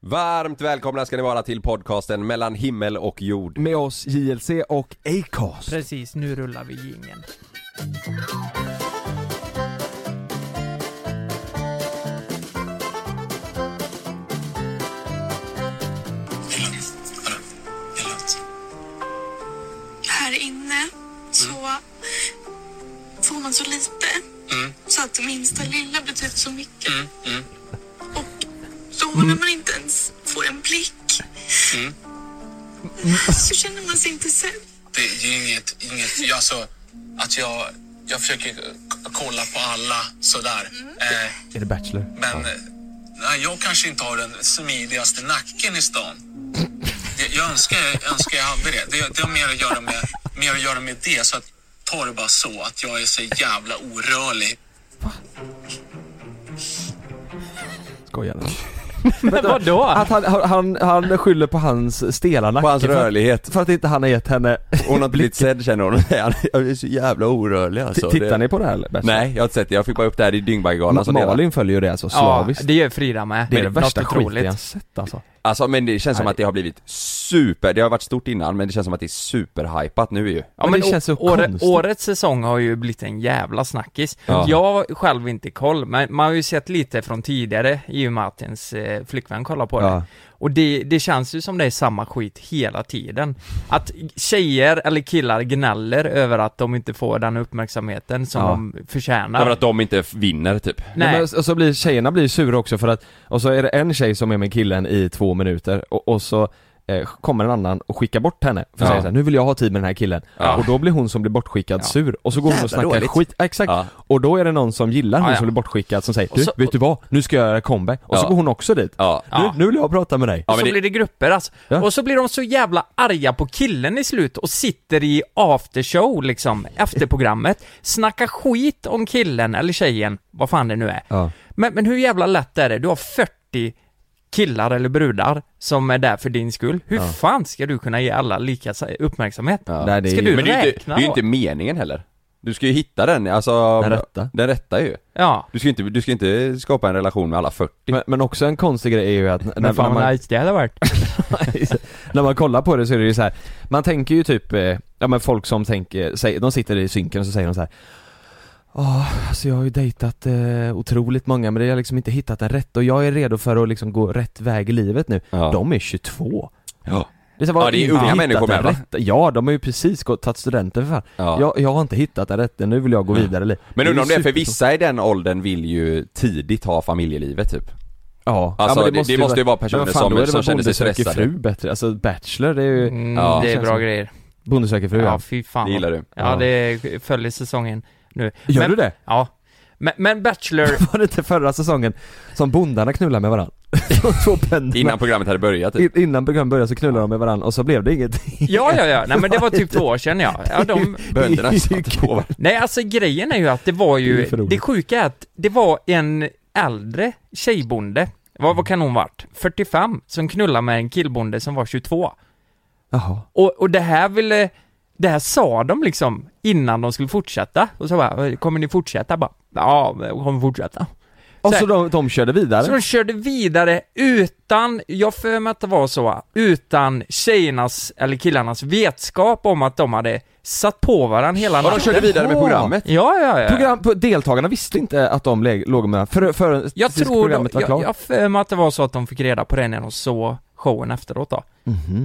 Varmt välkomna ska ni vara till podcasten mellan himmel och jord. Med oss JLC och Acast. Precis, nu rullar vi jingeln. här inne så får man så lite. Så att det minsta lilla betyder så mycket. Och då när Mm. man inte ens får en blick så känner man sig inte sedd. Det är ju inget, inget alltså, att jag, jag försöker k- kolla på alla sådär. Eh, Är det Bachelor? men eh, nej, jag kanske inte har den smidigaste nacken i stan. Jag, jag, önskar, jag önskar jag hade det. det. Det har mer att göra med, mer att göra med det. Så att, ta det bara så att jag är så jävla orörlig. Skojar du? Men vadå? Att han, han, han skyller på hans stela nacke. På hans för att- rörlighet. För att inte han har gett henne... Hon har inte blivit sedd känner hon. Jag är så jävla orörlig alltså. Tittar Det- ni på det här eller? Bachelor? Nej, jag har inte sett det. Jag fick bara upp det här i Dyngbaggegalan som delar. Malin följer ju det alltså slaviskt. Ja, det gör Frida med. det, är det Något värsta skiten otroligt. jag sett alltså. Alltså men det känns som Nej. att det har blivit super, det har varit stort innan men det känns som att det är superhypat nu ju. Ja, Men men det känns så å- åre, konstigt. årets säsong har ju blivit en jävla snackis. Ja. Jag har själv inte koll, men man har ju sett lite från tidigare i och med att ens eh, flickvän kollar på det. Ja. Och det, det känns ju som det är samma skit hela tiden. Att tjejer eller killar gnäller över att de inte får den uppmärksamheten som Ja. de förtjänar. Över att de inte f- vinner typ. Nej. Nej, men, och så blir tjejerna blir sura också för att, och så är det en tjej som är med killen i två minuter och, och så eh, kommer en annan och skickar bort henne för att Ja. säga såhär, nu vill jag ha tid med den här killen Ja. och då blir hon som blir bortskickad Ja. sur och så går hon Jävla och snackar dåligt. skit, Ja, exakt, Ja. och då är det någon som gillar hon Ja, ja. som blir bortskickad som säger Och du, så- vet du vad, nu ska jag göra comeback och så Ja. går hon också dit Ja. Ja. nu, nu vill jag prata med dig Ja, och så men det- blir det grupper alltså. Ja. Och så blir de så jävla arga på killen i slut och sitter i aftershow liksom, efter programmet. Snackar skit om killen eller tjejen, vad fan det nu är. Ja. Men, men hur jävla lätt är det? Du har 40 killar eller brudar som är där för din skull. Hur fan ska du kunna ge alla lika sa- uppmärksamhet? Nej, det är Ska ju- du Men det är ju inte, räkna det är ju då? inte meningen heller. Du ska ju hitta den, alltså Den rätta. Den rätta ju. Ja. Du ska ju inte, du ska inte skapa en relation med alla 40. Men, men också en konstig grej är ju att när, Men fan när, vad man, nice det hade varit. när man kollar på det så är det ju så här. man tänker ju typ, eh, ja men folk som tänker, säger, de sitter i synken och så säger de så här. Ja, alltså jag har ju dejtat eh, otroligt många men jag har liksom inte hittat den rätt och jag är redo för att liksom gå rätt väg i livet nu. Ja. De är 22. Ja. Det är så här, vad- Ja, det är inte unga hittat människor den med, va? rätta. Ja, de har ju precis gått, tagit studenten för fan. Ja. Jag, jag har inte hittat den rätta, nu vill jag gå vidare i livet. Men är ju undrar om det är för supertråkigt. vissa i den åldern vill ju tidigt ha familjelivet typ. Ja, Alltså, ja, men det- det måste ju vara personer men fan, som- då är det som väl känner sig Bonde söker stressade. fru bättre, alltså Bachelor det är ju Mm, Ja. det är Känns bra som- grejer. Bonde söker fru Ja, ja. fy fan. Det gillar du. Ja, Ja. det följer säsongen nu. Gör men, du det? Ja. Men, men Bachelor, Var det inte förra säsongen som bondarna knullade med varandra? De två bönderna. Innan programmet hade börjat typ. In- Innan programmet började så knullade de med varandra och så blev det ingenting. ja ja ja, nej men det var typ två år sedan ja. ja de, Bönderna Det är ju satt på varandra. nej alltså grejen är ju att det var Det ju, är för det, roligt. sjuka är att det var en äldre tjejbonde, vad, vad kan hon varit? 45, som knullade med en killbonde som var 22. Jaha. Och, och det här ville, det här sa de liksom innan de skulle fortsätta. Och så bara, kommer ni fortsätta? Bara, ja, vi kommer fortsätta. Och så här- de, de körde vidare? Så de körde vidare utan, jag för mig att det var så, utan tjejernas eller killarnas vetskap om att de hade satt på varandra hela Ja, de körde vidare med Jaha. programmet. Ja, ja, ja. Program, på- deltagarna visste inte att de leg- låg med varandra förrän jag tills tror, programmet var jag, klart? jag för mig att det var så att de fick reda på det när de såg showen efteråt då. Mhm.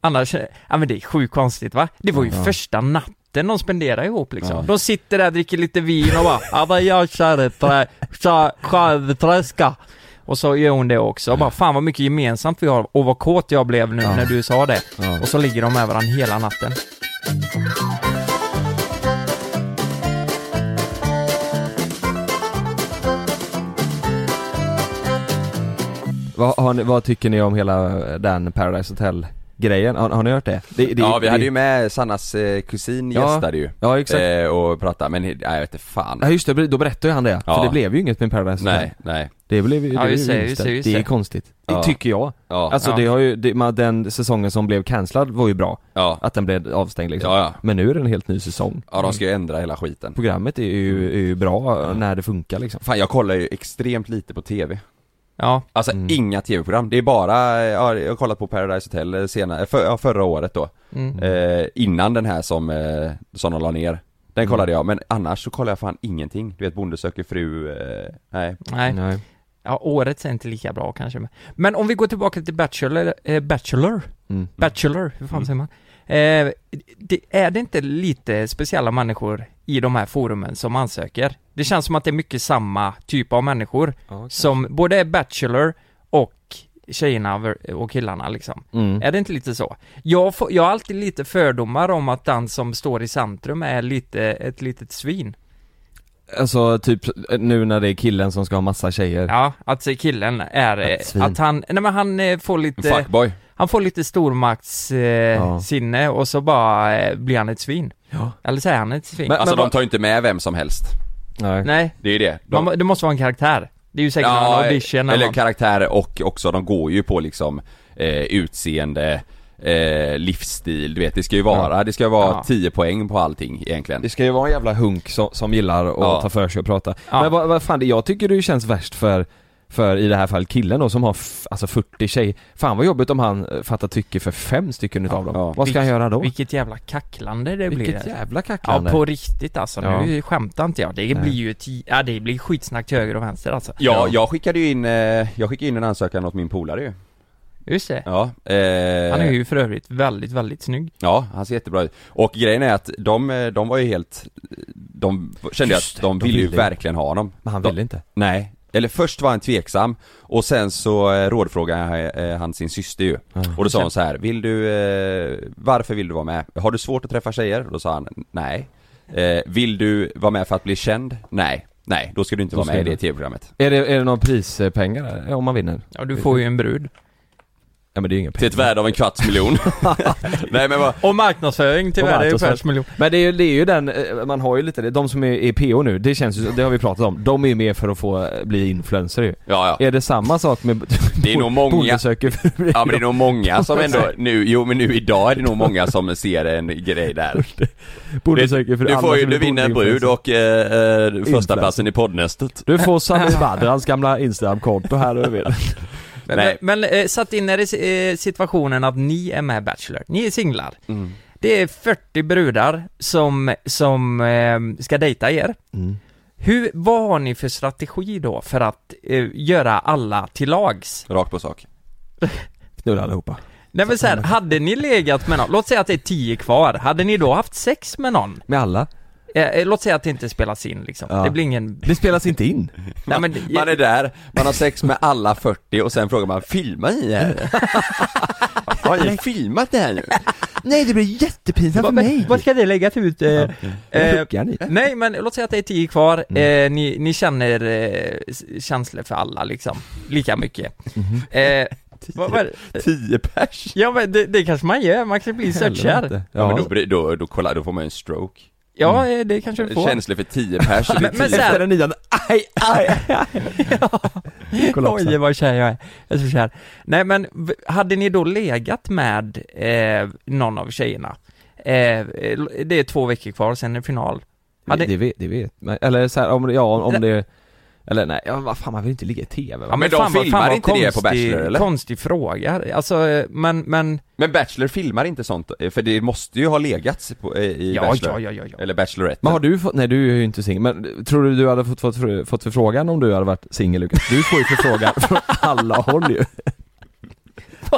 Annars, ja men det är sjukt konstigt va? Det var ju första natten de spenderar ihop liksom. De sitter där, dricker lite vin och bara ja men jag kör ett trä- kör- kör ett träska. Och så gör hon det också, och bara fan vad mycket gemensamt vi har och vad kåt jag blev nu när du sa det. Och så ligger de med varandra hela natten. Vad, har ni, vad tycker ni om hela eh, den Paradise Hotel grejen? Har, har ni hört det? det, det Ja vi det- hade ju med Sannas eh, kusin Ja. gästade ju. Ja, exakt. Eh, och pratade, men nej, jag vet inte fan. Ja just det, då berättade ju han det. Ja. För det blev ju inget med Paradise Hotel. Nej, nej. Det blev ju, Ja, det, blev just ju det, vinsten. just det, just det är det. konstigt, Ja. det tycker jag. Ja. Alltså Ja. det har ju, det, man, den säsongen som blev cancellad var ju bra, Ja. att den blev avstängd liksom. Ja, ja. Men nu är det en helt ny säsong. Ja de ska ju ändra hela skiten. Mm. Programmet är ju, är ju bra när äh, det funkar liksom. Fan jag kollar ju extremt lite på TV. Ja, Alltså inga tv-program, det är bara, eh, ja, jag har kollat på Paradise Hotel eh, senare, för, ja, förra året då mm. eh, Innan den här som, eh, som de la ner Mm. Den kollade jag, men annars så kollar jag fan ingenting Du vet Bonde söker fru, eh, nej nej. Nej. Ja, året är inte lika bra kanske. men- Men om vi går tillbaka till Bachelor, eh, Bachelor, Mm. Bachelor, hur fan säger man? Eh, det, är det inte lite speciella människor i de här forumen som ansöker? Det känns som att det är mycket samma typ av människor som både är Bachelor och tjejerna ver- och killarna liksom. Mm. Är det inte lite så? Jag, får, jag har alltid lite fördomar om att den som står i centrum är lite, ett litet svin. Alltså typ nu när det är killen som ska ha massa tjejer. Ja, att se killen är, eh, Ett svin. att han, nej men han eh, får lite, Fuckboy han får lite stormaktssinne eh, Ja. sinne och så bara eh, blir han ett svin. Ja. Eller så är han ett svin. Men- Alltså vad- de tar ju inte med vem som helst, Nej. nej, det är ju det de, man, må- det måste vara en karaktär. Det är ju säkert någon audition eller eller något. karaktärer och också, de går ju på liksom eh, utseende, eh, livsstil, du vet det ska ju vara, det ska ju vara Ja. 10 poäng på allting egentligen Det ska ju vara en jävla hunk som, som gillar att Ja. ta för sig och prata. Ja. Men vad, vad fan, det- jag tycker det ju känns värst för, för i det här fallet killen då som har f- alltså 40 tjejer. Fan vad jobbigt om han eh, fattar tycke för fem stycken utav dem. Ja. Vad ska han Vilk- göra då? Vilket jävla kacklande det blir. Vilket där. jävla Ja, kacklande. på riktigt alltså. Nu Ja. skämtar inte jag. Det Nej. blir ju ett, ja det blir skitsnack till höger och vänster alltså. Ja, jag skickade ju in, eh, jag skickade in en ansökan åt min polare ju Just det. Ja, eh, Han är ju för övrigt väldigt, väldigt snygg. Ja, han ser jättebra ut. Och grejen är att de, eh, de var ju helt, de kände ju Just att de det, de ville ju ville. verkligen ha honom. Men han De- ville inte. Nej. Eller först var han tveksam och sen så eh, rådfrågade eh, han sin syster ju. Och då sa hon så här, vill du, eh, varför vill du vara med? Har du svårt att träffa tjejer? Och Då sa han, nej. Eh, vill du vara med för att bli känd? Nej. Nej, då ska du inte Då vara med ska i du- det tv-programmet. Är det, är det någon prispengar där? Ja, om man vinner? Ja, du får ju en brud. Ja men det är ju inga Till ett pengar. värde av en kvarts miljon. nej men vad, Och marknadsföring till Och värde i marknadsföring. kvarts miljon. Men det är ju, det är ju den, eh, man har ju lite det, de som är, är PO nu, det känns ju, det har vi pratat om, de är ju med för att få eh, bli influencer ju. ja ja. Är det samma sak med Det är nog många- Bonde söker fru? Ja men det är nog många som ändå, nu, jo men nu idag är det nog många som ser en grej där. Bonde Det- söker fru, Du alla får ju, som är du vinner en brud bondeinfluencer. och eh, eh, första platsen i poddnästet. Du får Sami Badrans gamla instagramkonto här över. Men, Nej. men eh, satt in er i eh, situationen att ni är med i Bachelor, ni är singlar. Mm. Det är 40 brudar som, som eh, ska dejta er. Mm. Hur, vad har ni för strategi då för att eh, göra alla till lags? Rakt på sak. Knulla allihopa. Nej men så här, hade ni legat med någon, låt säga att det är 10 kvar, hade ni då haft sex med någon? Med alla. Eh, eh, låt säga att det inte spelas in liksom, Ja. det blir ingen... Det spelas inte in. Nej, men, Man är där, man har sex med alla 40 och sen frågar man, filmar ni det här? Har ni filmat det här nu? Nej det blir jättepinsamt Vad ska det läggas ut? Eh, eh, Huggar ni? Nej men låt säga att det är tio kvar, eh, ni, ni känner eh, s- känslor för alla liksom, lika mycket. Eh, vad, vad, 10 pers? ja men det, det kanske man gör, man kanske blir Helvete. Mm. searchkär. Ja. Men Ja. då, blir- då, då, kolla, då får man ju en stroke. Ja eh, det kanske du får. Känslig för 10 pers, det är Men- men 10. så här- Efter den nian, aj, aj, aj. Kollapsar. Oj vad kär jag är, jag är så kär. Nej men v- hade ni då legat med eh, någon av tjejerna? Eh, eh, det är två veckor kvar, sen är det final. Ja, det, Hade, det, vet, det vet man. Eller så här, om, ja, om, om det... Eller nej, ja, vad fan man vill inte ligga i TV Ja, va? men de vad- filmar vad inte det på Bachelor, eller? Konstig fråga, alltså eh, men, men Men Bachelor filmar inte sånt, eh, för det måste ju ha legats på, eh, i ja, Bachelor. ja, ja, ja, ja. Eller Bachelorette. Men har du fått, nej du är ju inte singel, men tror du du hade fått, fått, fr- fått förfrågan om du hade varit singel Lukas? Du får ju förfrågan från alla håll ju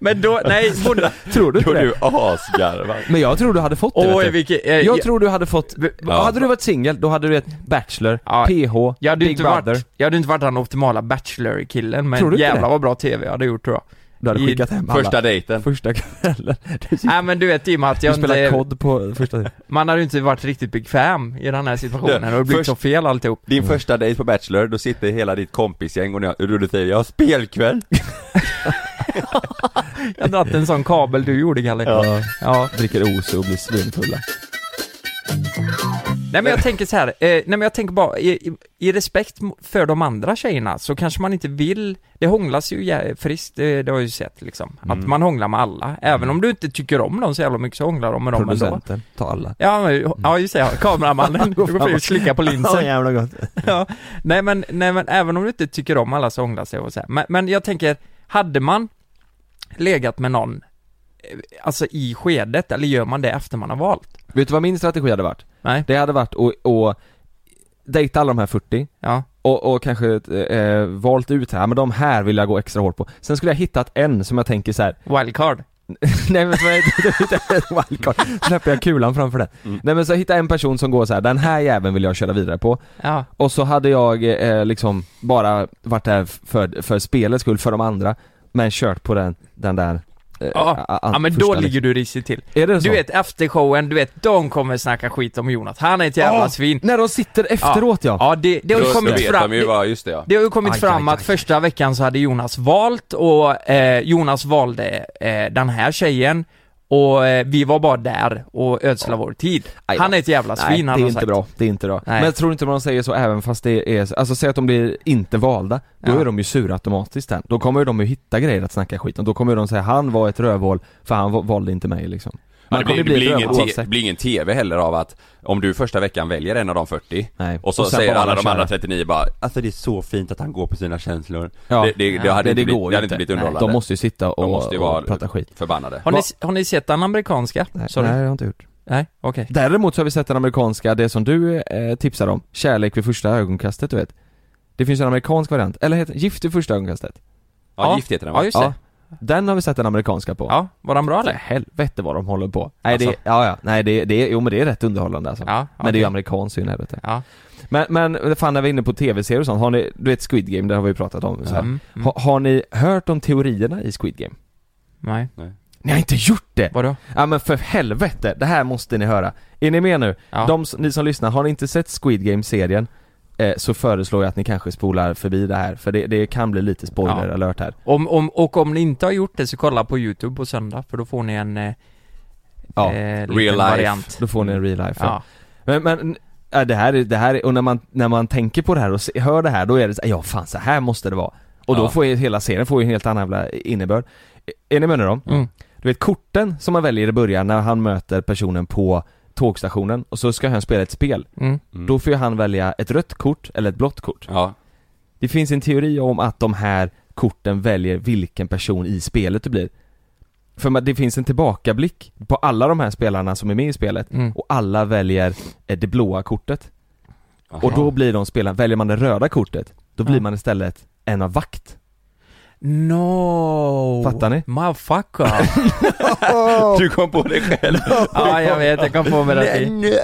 Men då, nej, borde... Tror du Då inte är det? du asgarvar. Men jag tror du hade fått det vet Oj du. vilket... Eh, Jag tror du hade fått, Ja. hade du varit singel, då hade du ett Bachelor, Ja. PH, jag hade ju Big inte Brother varit, jag hade inte varit den optimala Bachelor-killen Tror men du inte jävlar det? vad bra TV jag hade gjort tror jag. Du hade i skickat hem alla Första dejten. första kvällen Du, Nej men du vet i och med att du jag spelar inte, kod på första man hade ju inte varit riktigt bekväm i den här situationen och det blivit Först- så fel alltihop. Din Mm. första dejt på Bachelor, då sitter hela ditt kompisgäng och ni har- och du säger 'Jag har spelkväll' Jag hade dragit en sån kabel du gjorde Kalle. Ja. Dricker OSO och blir svinfulla Nej men jag tänker så här, eh, nej men jag tänker bara, i, i, i respekt mo- för de andra tjejerna så kanske man inte vill, det hånglas ju jä- friskt, eh, det, det har jag ju sett liksom, att man hånglar med alla, även om du inte tycker om dem så jävla mycket så hånglar de med dem ändå Producenten, ta alla. Ja, men, ja just det, Mm. ja, kameramannen, du går fram och slickar på linsen jävla gott. ja. nej, men, nej men även om du inte tycker om alla så ångrar sig och så här. Men, men jag tänker, hade man legat med någon eh, Alltså i skedet, eller gör man det efter man har valt? Vet du vad min strategi hade varit? Nej? Det hade varit att, att dejta alla de här 40 Ja, och, och kanske eh, valt ut här, men de här vill jag gå extra hårt på. Sen skulle jag hittat en som jag tänker så här. wildcard nej men så är det inte ett wildcard, släpper jag kulan framför den. Mm. Nej men så hitta en person som går så här. den här jäveln vill jag köra vidare på. Ja, Och så hade jag eh, liksom bara varit där för, för spelets skull, för de andra, men kört på den, den där eh, ja. a- a- ja men första då liksom. ligger du risigt till Är det så? Du vet efter showen, du vet de kommer snacka skit om Jonas, han är ett jävla Ja, svin När de sitter efteråt ja! Ja det, det har ju Då, då kommit vet fram de ju vad, just det ja. Det har ju kommit Aj, fram aj, att aj. första veckan så hade Jonas valt och eh, Jonas valde eh, den här tjejen och eh, vi var bara där och ödsla vår tid. Aj då. Han är ett jävla Nej, svin det han är Alltså, har inte sagt. bra, det är inte bra. Nej. Men jag tror inte man säger så även fast det är, alltså säg att de blir inte valda, då Ja. är de ju sura automatiskt sen. Då kommer ju de ju hitta grejer att snacka skit om, då kommer ju de säga han var ett rövhål för han va- valde inte mig liksom. Man Ja, det, blir, det, kommer bli blir ett ingen rövhål te, det oavsett. blir ingen TV heller av att om du första veckan väljer en av de 40 Nej. och så Och sen säger bara alla de köra. andra 39 bara Alltså det är så fint att han går på sina känslor Ja. det, det, det hade Nej, inte det blivit, går det ju hade inte inte. blivit Nej. underhållande De måste ju sitta och, De måste ju vara och prata skit. förbannade Har ni, Va- har ni sett den amerikanska? Nej, Sorry. nej, Nej, jag har inte gjort. okej. Däremot så har vi sett den amerikanska, det som du eh, tipsar om, Kärlek vid första ögonkastet du vet. Det finns en amerikansk variant, eller heter Gift vid första ögonkastet. Ja, gift heter den va? Ja, just det. Den har vi sett den amerikanska på. Ja, var den bra För eller? Alltså, helvete vad de håller på. Nej Alltså. det, ja ja, nej det, det, jo men det är rätt underhållande alltså. Ja, Men det är ju okej. amerikanskt i helvete. Ja. Men, men fan när vi är inne på tv-serier och sånt, har ni, du vet Squid Game, det har vi ju pratat om så här. Mm, mm. Ha, har ni hört om teorierna i Squid Game? Nej. Ni har inte gjort det! Vadå? Ja men för helvete, det här måste ni höra. Är ni med nu? Ja. De, s- ni som lyssnar, har ni inte sett Squid Game-serien eh, så föreslår jag att ni kanske spolar förbi det här, för det, det kan bli lite spoiler Ja. alert här. Om, om, och om ni inte har gjort det så kolla på YouTube på söndag för då får ni en eh, Ja, eh, liten real life. variant. då får ni en real life. ja. Ja. Men, men ja, det här är, det här är, och när man, när man tänker på det här och se, hör det här då är det så, ja fan så här måste det vara. Och då Ja. får ju hela serien får ju en helt annan jävla innebörd. Är ni med nu då? Mm. Du vet korten som man väljer i början när han möter personen på tågstationen och så ska han spela ett spel. Mm. Då får ju han välja ett rött kort eller ett blått kort. Ja, Det finns en teori om att de här korten väljer vilken person i spelet du blir. För man- det finns en tillbakablick på alla de här spelarna som är med i spelet Mm. och alla väljer eh, det blåa kortet. Och Aha. då blir de spelarna, väljer man det röda kortet, då blir Ja. man istället en av vakt. No! Fattar ni? Motherfucker! Du kom på det själv! ja, jag vet, jag kom på mig det. i-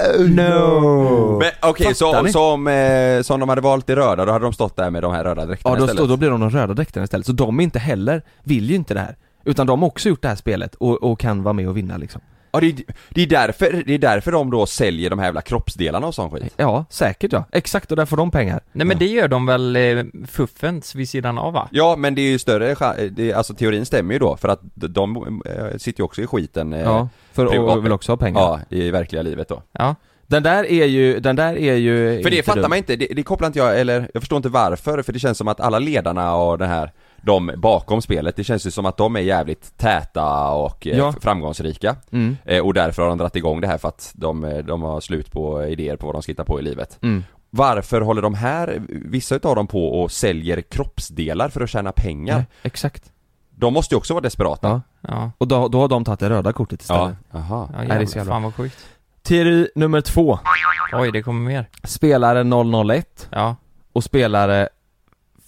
No! Men okej, Fattar så, ni? som, eh, som de hade valt i röda, då hade de stått där med de här röda dräkterna Ja, då, istället? då blir de de röda dräkterna istället, så de inte heller, vill ju inte det här. Utan de har också gjort det här spelet och, och kan vara med och vinna liksom. Ja, det, är- det, är därför, det är därför de då säljer de här jävla kroppsdelarna och sån skit Ja, säkert ja. Exakt, och där får de pengar. Nej men det gör de väl eh, fuffens vid sidan av va? Ja men det är ju större cha- det, alltså teorin stämmer ju då för att de eh, sitter ju också i skiten eh, Ja, för privat- och vill också ha pengar. ja, i verkliga livet då Ja. Den där är ju, den där är ju För det inte fattar dum. man inte, det, det kopplar inte jag, eller jag förstår inte varför för det känns som att alla ledarna och det här de bakom spelet, det känns ju som att de är jävligt täta och eh, Ja. f- framgångsrika Mm. eh, Och därför har de dragit igång det här för att de, eh, de har slut på idéer på vad de ska hitta på i livet Mm. Varför håller de här, vissa utav dem på och säljer kroppsdelar för att tjäna pengar? Nej, exakt. De måste ju också vara desperata Ja. Ja. Och då, då har de tagit det röda kortet Ja, istället. aha. Ja, det är jävlar, så jävla- fan vad sjukt. Teori nummer två. Oj, det kommer mer. Spelare 001 Ja. och spelare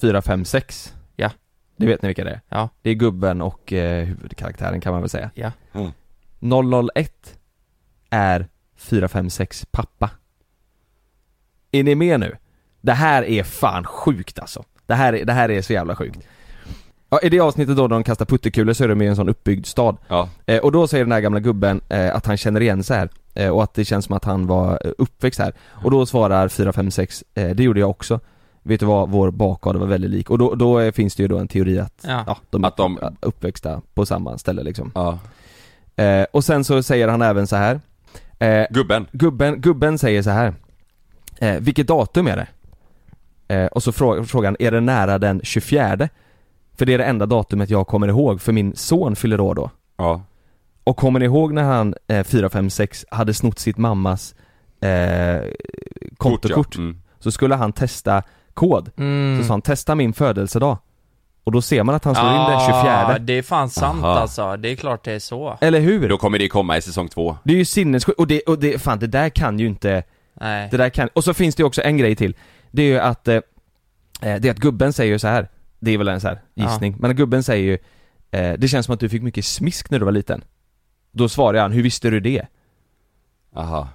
456. Ja. Det vet ni vilka det är? Ja. Det är gubben och eh, huvudkaraktären kan man väl säga. Ja. Mm. 001 är 456 pappa. Är ni med nu? Det här är fan sjukt alltså. Det här är, det här är så jävla sjukt. Ja, I det avsnittet då när de kastar puttekulor så är de i en sån uppbyggd stad. Ja, Eh, och då säger den här gamla gubben eh, att han känner igen sig här eh, och att det känns som att han var eh, uppväxt här. Och då svarar 456, eh, det gjorde jag också. Vet du vad, vår bakgård var väldigt lik. Och då, då eh, finns det ju då en teori att, Ja. ja. de är Att de- uppväxta på samma ställe liksom. ja. Eh, och sen så säger han även så här. Eh, Gubben. gubben, gubben säger så här. eh, vilket datum är det? Eh, och så frå- frågan, är det nära den 24? För det är det enda datumet jag kommer ihåg, för min son fyller år då. Ja. Och kommer ni ihåg när han, eh, 456, hade snott sitt mammas eh, kontokort? ja. Mm. Så skulle han testa kod, så sa han testa min födelsedag. Och då ser man att han slår in Ah. den 24. det är fan sant Aha. alltså. Det är klart det är så. Eller hur? Då kommer det komma i säsong två. Det är ju sinnessjukt, och det, och det, fan det där kan ju inte, Nej. det där kan, och så finns det ju också en grej till Det är ju att, eh, eh, det är att gubben säger ju så här. det är väl en så här gissning, men gubben säger ju eh, Det känns som att du fick mycket smisk när du var liten Då svarar han, hur visste du det? Aha.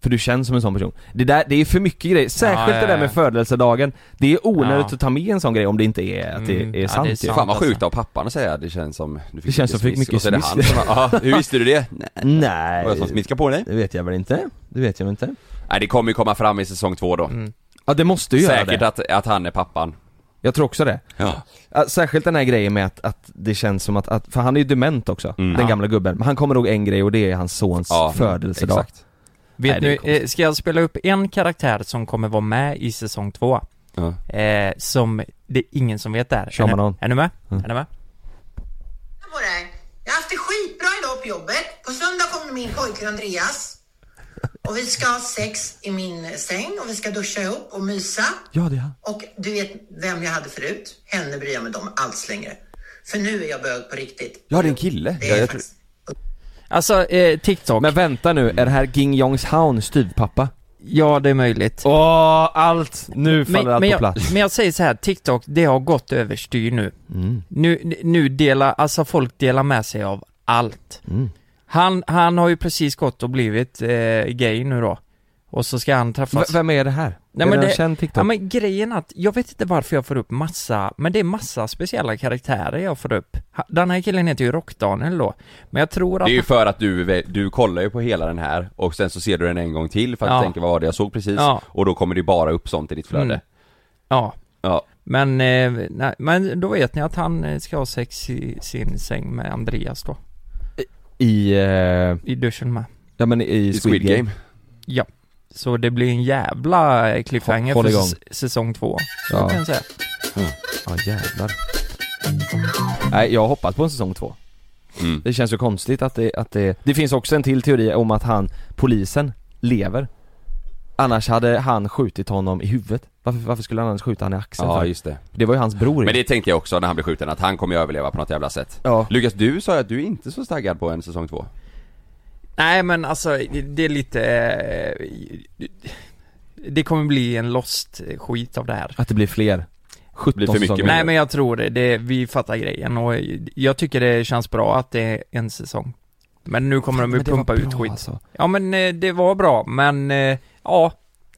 För du känns som en sån person Det där, det är för mycket grejer, särskilt Ja, ja, det där ja. med födelsedagen Det är onödigt Ja. att ta med en sån grej om det inte är att det Mm, ja, är det sant, är ju. sant. Fan vad alltså. sjukt av pappan att säga det känns som du Det känns som fick mycket Och så är det han smisk. som bara, "Ja, hur visste du det? Nej. Nej, Var jag som smiskade på dig? det vet jag väl inte, det vet jag väl inte Nej det kommer ju komma fram i säsong två då. Ja det måste ju göra Säkert det, att, att han är pappan. jag tror också det Ja. Ja, Särskilt den här grejen med att, att det känns som att, att, för han är ju dement också, Mm. den gamla gubben. Men han kommer ihåg en grej och det är hans sons Ja, födelsedag. exakt. Vet Nej, det är ni, eh, ska jag spela upp en karaktär som kommer vara med i säsong två? Ja. Eh, som det är ingen som vet där. Kör Är ni- man Mm. on. Är ni med? Är ni med? på dig. Jag har haft det skitbra idag på jobbet. På söndag kommer min pojke Andreas. Och vi ska ha sex i min säng och vi ska duscha ihop och mysa. Ja det är han. Och du vet vem jag hade förut? Henne bryr jag mig om alls längre. För nu är jag bög på riktigt. Ja det är en kille. Det Ja, är jag tror... faktiskt... Alltså, eh, TikTok. Men vänta nu, är det här Ging Jongs Haun styvpappa? ja, det är möjligt. Åh, allt! Nu faller allt men på jag, plats. Men jag säger så här, TikTok, det har gått överstyr nu. Mm. Nu, nu delar, alltså folk delar med sig av allt. Mm. Han, han har ju precis gått och blivit eh, gay nu då. Och så ska han V- träffas. vem är det här? är det en känd TikTok? Ja, men grejen att, jag vet inte varför jag får upp massa, men det är massa speciella karaktärer jag får upp. Ha- Den här killen heter ju Rock-Daniel då, men jag tror att... Det är ju för att du, du kollar ju på hela den här och sen så ser du den en gång till för att Ja. du tänker vad var det jag såg precis? Ja. Och då kommer det bara upp sånt i ditt flöde. Mm. Ja, Ja. men, eh, nej, men då vet ni att han eh, ska ha sex i sin säng med Andreas då, I, eh, i duschen med. ja men i I Squid Game. Ja. Så det blir en jävla eh, cliffhanger Håll för igång. s- säsong två. Så Ja. kan jag säga. Ja jävlar. Nej jag hoppas på en säsong två. Mm. Det känns ju konstigt att det, att det, det finns också en till teori om att han, polisen, lever. Annars hade han skjutit honom i huvudet. Varför, varför skulle han annars skjuta han i axeln Ja för? just det. Det var ju hans bror Men det tänkte jag också när han blev skjuten, att han kommer ju överleva på något jävla sätt. Ja. Lukas, du sa ju att du är inte så taggad på en säsong två. Nej men alltså, det- det är lite... eh, Det kommer bli en lost eh, skit av det här. Att det blir fler 17 Blir för mycket säsonger. mer. Nej men jag tror det, det, vi fattar grejen och jag tycker det känns bra att det är en säsong. Men nu kommer de ju Men det var pumpa ut bra, skit. Alltså. Ja men eh, det var bra, men eh, ja.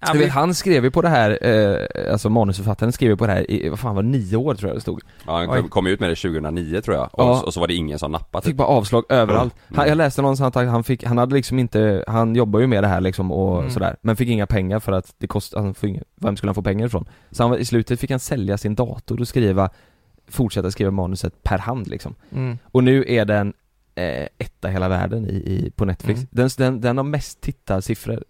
Ja, Du vi- vet, han skrev ju på det här, eh, alltså manusförfattaren skrev ju på det här i, vad fan var det, nio år tror jag det stod Ja, han Oj. kom- kom ju ut med det 2009 tror jag, och, Ja. och så var det ingen som nappade Fick typ. bara avslag överallt. Han, jag läste någonstans att han fick, han hade liksom inte, han jobbar ju med det här liksom och sådär, men fick inga pengar för att det kostade, han fick, inga- vem skulle han få pengar ifrån? Så han, var- i slutet fick han sälja sin dator och skriva, fortsätta skriva manuset per hand liksom. Mm. Och nu är den eh, etta i hela världen i, i, på Netflix. Mm. Den, den, den har mest tittarsiffror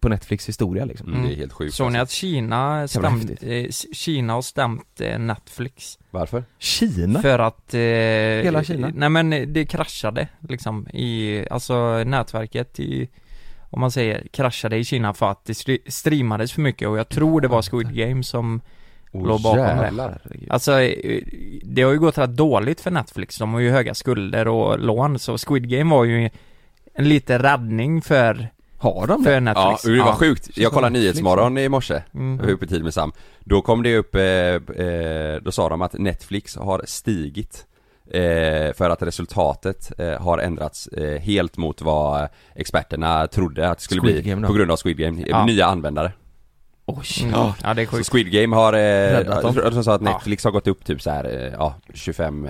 på Netflix historia liksom. Mm, det är helt sjukt. Såg ni alltså. att Kina, stämt, häftigt. eh, S- Kina har stämt eh, Netflix? Varför? Kina? För att... Eh, Hela Kina? Nej men det kraschade liksom i, alltså nätverket i, om man säger kraschade i Kina för att det stri- streamades för mycket och jag tror det var Squid Game som låg bakom det. Herregud. Alltså, eh, det har ju gått rätt dåligt för Netflix. De har ju höga skulder och lån, så Squid Game var ju en liten räddning för, Har de för det? Ja, Netflix. det var sjukt. Jag kollade Netflix, Nyhetsmorgon i morse, Mm. jag var uppe i tid med Sam. Då kom det upp, eh, eh, då sa de att Netflix har stigit eh, för att resultatet eh, har ändrats eh, helt mot vad experterna trodde att det skulle Squid bli Game då? på grund av Squid Game, eh, Ja. nya användare. Mm. Ja. Ja, det är Så sjukt. Squid Game har, eh, Räddat dem. jag tror de sa att Netflix har gått upp typ så här, eh, ja 25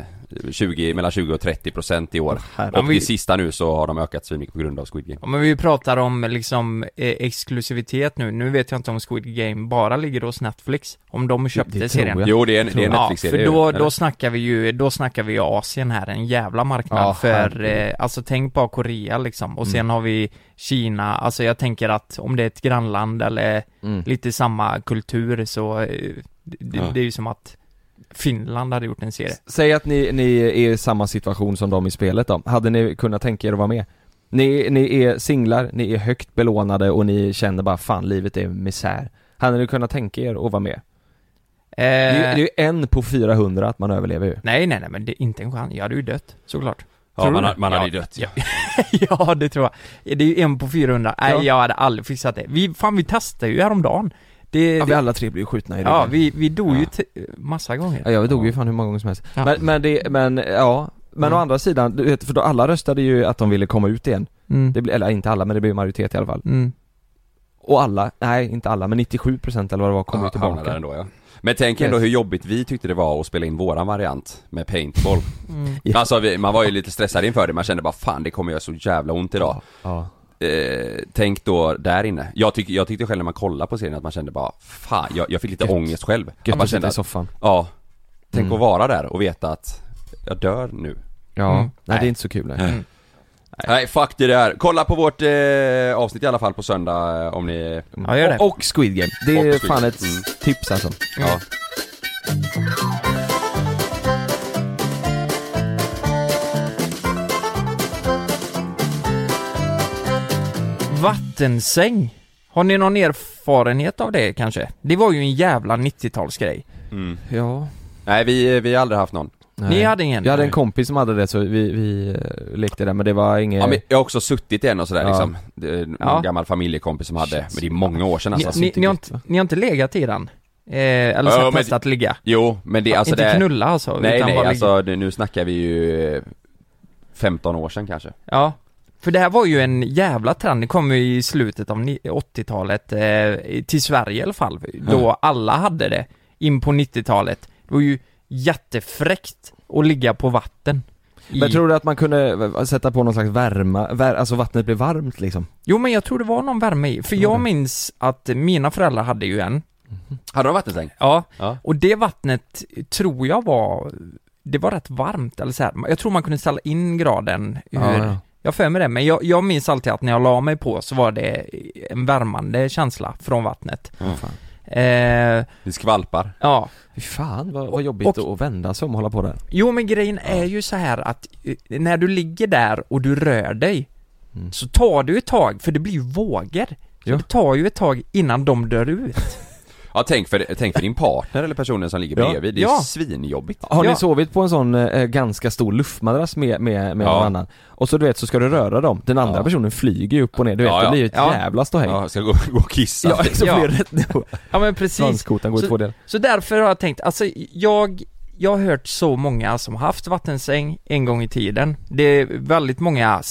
20, mellan 20 och 30 procent i år. herregud. och i sista nu så har de ökat svinmycket på grund av Squid Game. Ja, men vi pratar om liksom eh, exklusivitet nu. Nu vet jag inte om Squid Game bara ligger hos Netflix, om de köpte Det- det tror serien. jag. Jo det är en, det är en Netflix-serie Ja, för då, ju, då eller? snackar vi ju, då snackar vi ju Asien här, en jävla marknad Ja, för, herregud. eh, alltså tänk bara Korea liksom, och sen har vi Kina, alltså jag tänker att om det är ett grannland eller Mm. lite samma kultur så, eh, det, Ja. det är ju som att Finland hade gjort en serie. Säg att ni, ni är i samma situation som de i spelet då. Hade ni kunnat tänka er att vara med? Ni, ni är singlar, ni är högt belånade och ni känner bara fan livet är misär. Hade ni kunnat tänka er att vara med? Det är, ju- det är ju en på 400 att man överlever ju. Eh, Nej, nej, nej, men det är inte en chans. Jag hade ju dött, såklart. Ja Tror man, du har- det? man hade ju Ja. dött ja. ja, det tror jag. Det är ju en på 400. Nej, Ja. jag hade aldrig fixat det. Vi, fan, vi testade ju häromdagen. Det, Ja, ja, vi det, alla tre blir ju skjutna i ryggen. ja, vi, vi dog ju Ja. t- massa Ja, gånger. jag dog ju fan hur många gånger som helst. Ja. Men, men det, men ja. Men Mm. å andra sidan, du vet, för då alla röstade ju att de ville komma ut igen. Mm. Det blir, eller inte alla, men det blev majoritet i alla fall. Mm. Och alla, nej inte alla, men 97% eller vad det var kom ju Ja, hamnar där tillbaka. ändå ja. Men tänk ändå Yes. hur jobbigt vi tyckte det var att spela in våran variant med paintball. Ja. Alltså vi, man var ju lite stressad inför det, man kände bara fan det kommer göra så jävla ont idag. Ja. Eh, tänk då där inne. Jag, tyck, jag tyckte själv när man kollade på serien att man kände bara fan, jag, jag fick lite Gött. ångest själv. Gött man att sitta kände i att, soffan. ja, tänk Mm. att vara där och veta att jag dör nu. Ja, Mm. nej det är inte så kul. Nej. Nej fuck det där. Kolla på vårt eh, avsnitt i alla fall på söndag eh, om ni... Ja, gör det. Och, och Squid Game. Det är Och Squid- fan ett Mm. tips alltså. Ja. Vattensäng. Har ni någon erfarenhet av det kanske? Det var ju en jävla 90-talsgrej. Mm. Ja. Nej vi, vi har aldrig haft någon. Ni hade ingen? Jag hade en kompis som hade det så vi, vi eh, lekte där men det var inget... Ja, men jag har också suttit i en och sådär Ja. liksom. Det är någon Ja. gammal familjekompis som hade, men det är många år sedan alltså. ni, ni, ni, har inte, ni har inte legat i den? Eh, eller så Ja, här men- testat ligga? Jo, men det alltså inte det... knulla alltså? Nej utan nej, bara ligga. alltså det, nu snackar vi ju eh, 15 år sedan kanske. Ja. För det här var ju en jävla trend, det kom ju i slutet av ni- 80-talet, eh, till Sverige i alla fall, då alla hade det, in på 90-talet. Det var ju jättefräckt att ligga på vatten. I... Men tror du att man kunde eh, sätta på någon slags värma, vär, alltså vattnet blev varmt liksom? Jo men jag tror det var någon värme i, för Tror jag det. minns att mina föräldrar hade ju en. Hade de vattensäng? Ja. Ja. Och det vattnet tror jag var, det var rätt varmt eller så här. jag tror man kunde ställa in graden hur, Ja, ja. Jag har för mig det, men jag, jag minns alltid att när jag la mig på så var det en värmande känsla från vattnet. Fan. Eh, Det skvalpar. ja. Fy fan vad, vad jobbigt Och- att vända sig om och hålla på där. Jo men grejen är ju så här att eh, när du ligger där och du rör dig så tar du ett tag, för det blir ju vågor. Så Ja. det tar ju ett tag innan de dör ut. Ja tänk för, tänk för din partner eller personen som ligger Ja. bredvid, det är Ja. svinjobbigt. Har Ja. ni sovit på en sån eh, ganska stor luftmadrass med, med, med Ja. någon annan? Och så du vet så ska du röra dem, den andra Ja. personen flyger ju upp och ner, du vet Ja, det ja. blir ju ett Ja. jävla ståhej. Ja, jag ska gå, gå och kissa. Ja, så Ja. blir det rätt Ja men precis. Svanskotan går i Så- två delar. Så därför har jag tänkt, alltså jag, jag har hört så många som haft vattensäng en gång i tiden. Det är väldigt många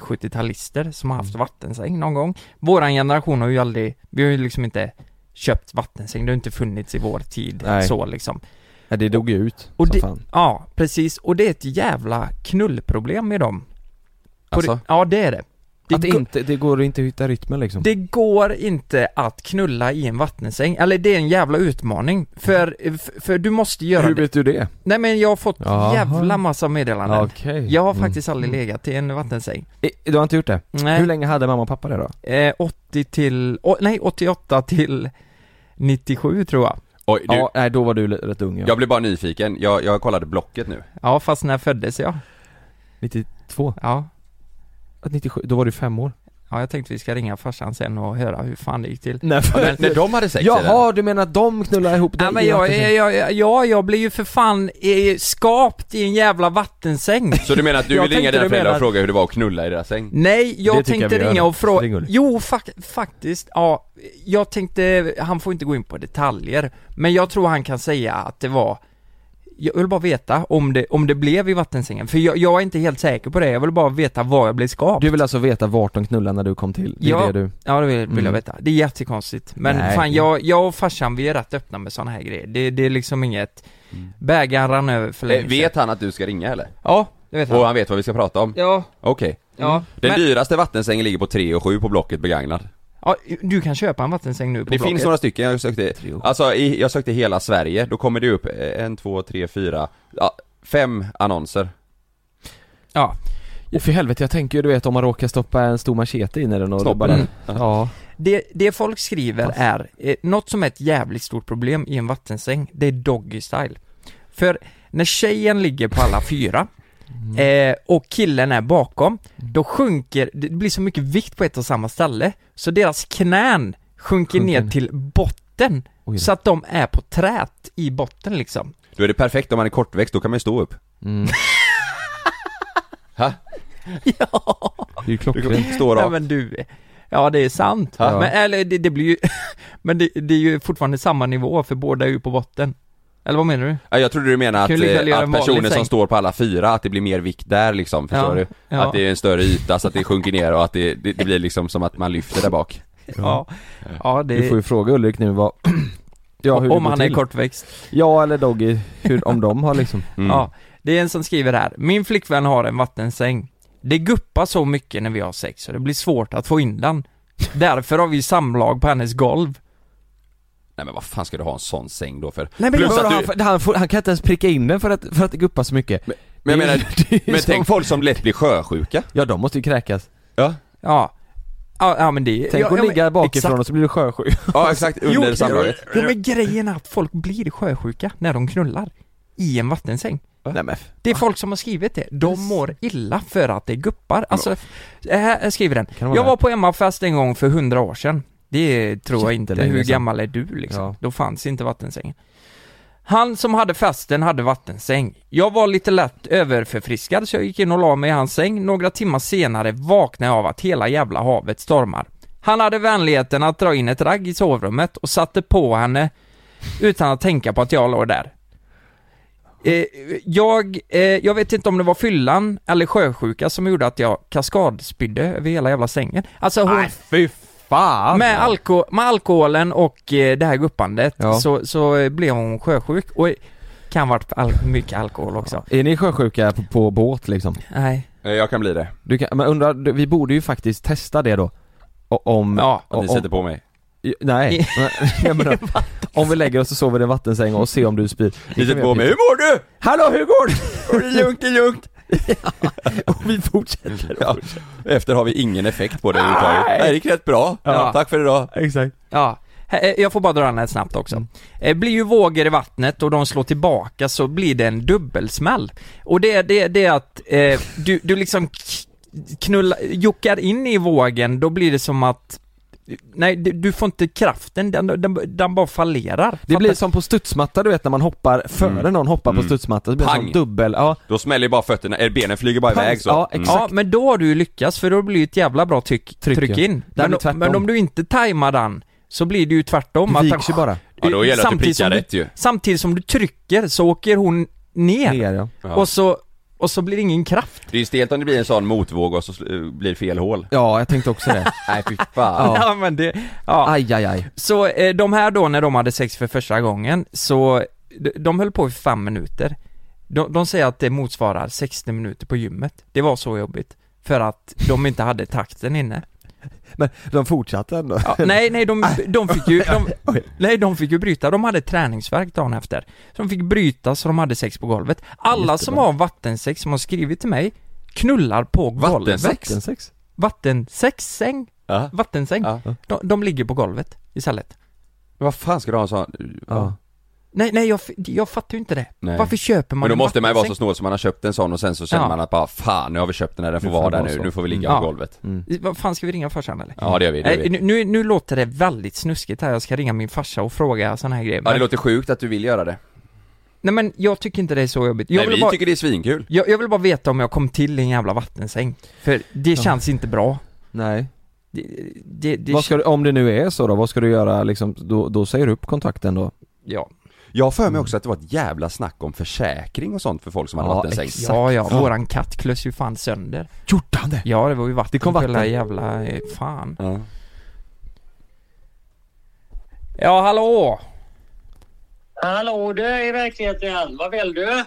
60-70-talister som har haft Mm. vattensäng någon gång. Våran generation har ju aldrig, vi har ju liksom inte köpt vattensäng, det har inte funnits i vår tid Nej. så liksom. Ja, det dog ju ut Och som det- fan. Ja, precis. Och det är ett jävla knullproblem med dem. På Alltså? det- Ja, det är det. Det, att det, går- inte, det går inte att hitta rytmen liksom. det går inte att knulla i en vattensäng, eller det är en jävla utmaning. För, för- för du måste göra Hur det. vet du det? Nej men jag har fått Jaha. jävla massa meddelanden. Okej. Jag har faktiskt aldrig legat i en vattensäng. Eh, Du har inte gjort det? Nej. Hur länge hade mamma och pappa det då? Eh, 80 till, å- nej 88 till 97 tror jag. Oj, du, Ja, nej då var du l- rätt ung ja. jag blev bara nyfiken. Jag, jag kollade Blocket nu. Ja fast när föddes jag? 92? Ja. Att 97, då var du fem år. Ja jag tänkte vi ska ringa farsan sen och höra hur fan det gick till. Nej Men när de hade sex i den, Jaha, du menar att de knullar ihop dig Ja men i jag, vattensäng? jag, jag, jag, ja, jag blir ju för fan eh, skapt i en jävla vattensäng. så du menar att du Jag vill ringa tänkte dina du föräldrar menar- och fråga hur det var att knulla i deras säng? Nej, Det jag tycker jag tänkte vi gör. ringa och Ring fråga... Olle. Jo, fak- faktiskt, ja. Jag tänkte, han får inte gå in på detaljer, men jag tror han kan säga att det var jag vill bara veta om det, om det blev i vattensängen, för jag, jag är inte helt säker på det, jag vill bara veta var jag blev skapt Du vill alltså veta vart de knullade när du kom till? Det är Ja. det du... Ja det vill, vill Mm. jag veta, det är jättekonstigt Men Nej. fan jag, jag och farsan vi är rätt öppna med såna här grejer, det, det är liksom inget Mm. Bägaren rann över för länge Eh, Vet sedan. han att du ska ringa eller? Ja, det vet han Och han vet vad vi ska prata om? Ja, Okej. Mm. ja, Den men, dyraste vattensängen ligger på 3 och 7 på Blocket begagnad. ja, du kan köpa en vattensäng nu på det Blocket. finns några stycken, jag sökte, alltså i, jag sökte hela Sverige, då kommer det upp eh, en, två, tre, fyra, ja, fem annonser. Ja, Och för helvete, jag tänker ju du vet om man råkar stoppa en stor machete in i den och Snoppen. bara... Mm. Ja. det, det folk skriver är, eh, något som är ett jävligt stort problem i en vattensäng, det är doggy style För när tjejen ligger på alla fyra Mm. Eh, och killen är bakom, då sjunker, det blir så mycket vikt på ett och samma ställe, så deras knän sjunker, Sjunker ner ner. till botten, Oj då. så att de är på trät i botten liksom. Då är det perfekt om man är kortväxt, då kan man ju stå upp. Det är ju Du klockrent. kan stå Ja rakt. men du, ja det är sant. Ja. Men eller det, det blir ju, men det, det är ju fortfarande samma nivå för båda är ju på botten. Eller vad menar du? Ja, jag trodde du menade att, Kan ju lika väl eh, göra att en vanlig personer som säng. står på alla fyra, att det blir mer vikt där liksom, förstår Ja, du? ja. Att det är en större yta så att det sjunker ner och att det, det, det blir liksom som att man lyfter där bak. Ja, ja Du Eh, får det, ju fråga Ulrik nu vad... Ja, hur det om går han till. är kortväxt. Ja, eller Doggy, hur, om de har liksom... Mm. Ja, det är en som skriver här. Min flickvän har en vattensäng. Det guppar så mycket när vi har sex så det blir svårt att få in den. Därför har vi samlag på hennes golv. Nej men vad fan ska du ha en sån säng då för? Nej men Plus vadå, att du, han, får- han, får, han kan inte ens pricka in den för att, för att det guppar så mycket. men jag Det är- menar, det är men som- tänk folk som lätt blir sjösjuka. Ja, de måste ju kräkas. Ja, Ja. Ja, ja men det... Tänk ja, att ja, men- ligga bakifrån exakt. och så blir du sjösjuk. ja exakt, under Jo, samlaget. Jo, men grejen är att folk blir sjösjuka när de knullar. I en vattensäng. Nej men, Det är folk som har skrivit det. De mår illa för att det guppar. Alltså, här skriver den. Kan det vara Jag det? var på hemmafest en gång för hundra år sedan. Det tror jag inte. Jättelänge Hur sedan. gammal är du liksom? Ja. Då fanns inte vattensängen. Han som hade festen hade vattensäng. Jag var lite lätt överförfriskad så jag gick in och la mig i hans säng. Några timmar senare vaknade jag av att hela jävla havet stormar. Han hade vänligheten att dra in ett ragg i sovrummet och satte på henne utan att tänka på att jag låg där. Eh, jag, eh, jag vet inte om det var fyllan eller sjösjuka som gjorde att jag kaskadspydde över hela jävla sängen. Alltså hon, fy fan! med, alko med alkoholen och eh, det här guppandet Ja. så, så eh, blev hon sjösjuk och kan varit al mycket alkohol också. Är ni sjösjuka på, på båt liksom? Nej. Eh, Jag kan bli det. Du kan, men undrar, du- vi borde ju faktiskt testa det då. O- Om... Ja, Att ni om, sätter på mig. Nej, jag menar, om vi lägger oss och sover i en vattensäng och ser om du spyr. Ni sätter på mig, hur mår du? Hallå hur går Det det? är lugnt, det är lugnt. Och vi fortsätter. Ja. Efter har vi ingen effekt på det överhuvudtaget. Nej, det gick rätt bra. Ja. Tack för idag. Exakt. Ja, Här, eh, jag får bara dra den här snabbt också. Mm. Eh, Blir ju vågor i vattnet och de slår tillbaka så blir det en dubbelsmäll. Och det är det, det är att eh, du, du liksom k- knulla, jockar in i vågen, då blir det som att Nej, du- du får inte kraften, den, den, den bara fallerar. Det blir som på studsmatta du vet när man hoppar, före någon hoppar på studsmatta så blir det Mm. Pang. som dubbel, ja. Då smäller ju bara fötterna, eller benen flyger bara iväg så. Ja, Mm. exakt. Ja, men då har du ju lyckats för då blir det ett jävla bra tryck, Tryck, tryck, ja. in. Där Men, blir tvärtom. men om du inte tajmar den så blir det ju tvärtom. Du att viks ju han- bara. Ja, då gäller det att du Samtidigt prickar som rätt ju. Samtidigt som du trycker så åker hon ner. Ner ja. Ja. Och, så, och så blir det ingen kraft. Det är ju stelt om det blir en sån motvåg och så sl- eh, blir det fel hål. Ja, jag tänkte också det. Nej fy fan. Ja. Ja, men det, ja. Aj, aj, aj. Så eh, de här då när de hade sex för första gången så de, de höll på i fem minuter. De, de säger att det motsvarar 60 minuter på gymmet. Det var så jobbigt. För att de inte hade takten inne. Men de fortsatte ändå. Ja, nej, nej, de, de fick ju, de, nej, de fick ju bryta. De hade träningsvärk dagen efter. Så de fick bryta så de hade sex på golvet. Alla som har vattensex som har skrivit till mig knullar på golvet. Vattensex? Vattensex? Vattensexsäng? Ja. Vattensäng? Ja. De, de ligger på golvet istället. Vad fan ska du ha en sån? Ja. Nej, nej, jag, f- jag fattar ju inte det. Nej. Varför köper man Men då en måste man ju vara så vattensäng? snål så man har köpt en sån och sen så känner Ja. man att bara fan nu har vi köpt den här, den får Nu får vara det där vara nu, så. nu får vi ligga Mm. på Ja. golvet. Vad fan, ska vi ringa farsan eller? Ja det gör vi, det gör Nej, vi. nu, nu, nu låter det väldigt snuskigt här, jag ska ringa min farsa och fråga sådana här grejer. Ja det Men- låter sjukt att du vill göra det. Nej men jag tycker inte det är så jobbigt. Jag Nej vill vi bara- tycker det är svinkul. Jag, jag vill bara veta om jag kom till i en jävla vattensäng. För det känns inte bra. Nej. Det, det, det Vad ska du, om det nu är så då, vad ska du göra liksom, då, då säger du upp kontakten då? Ja. Jag har för mig också att det var ett jävla snack om försäkring och sånt för folk som hade Ja, vattensäng. exakt. Ja, ja, våran katt klös ju fan sönder. Gjorde han det? Ja, det var ju vatten Det kom på hela vatten. jävla... eh, Fan. Ja. Ja, hallå! Hallå du i verkligheten, vad vill du?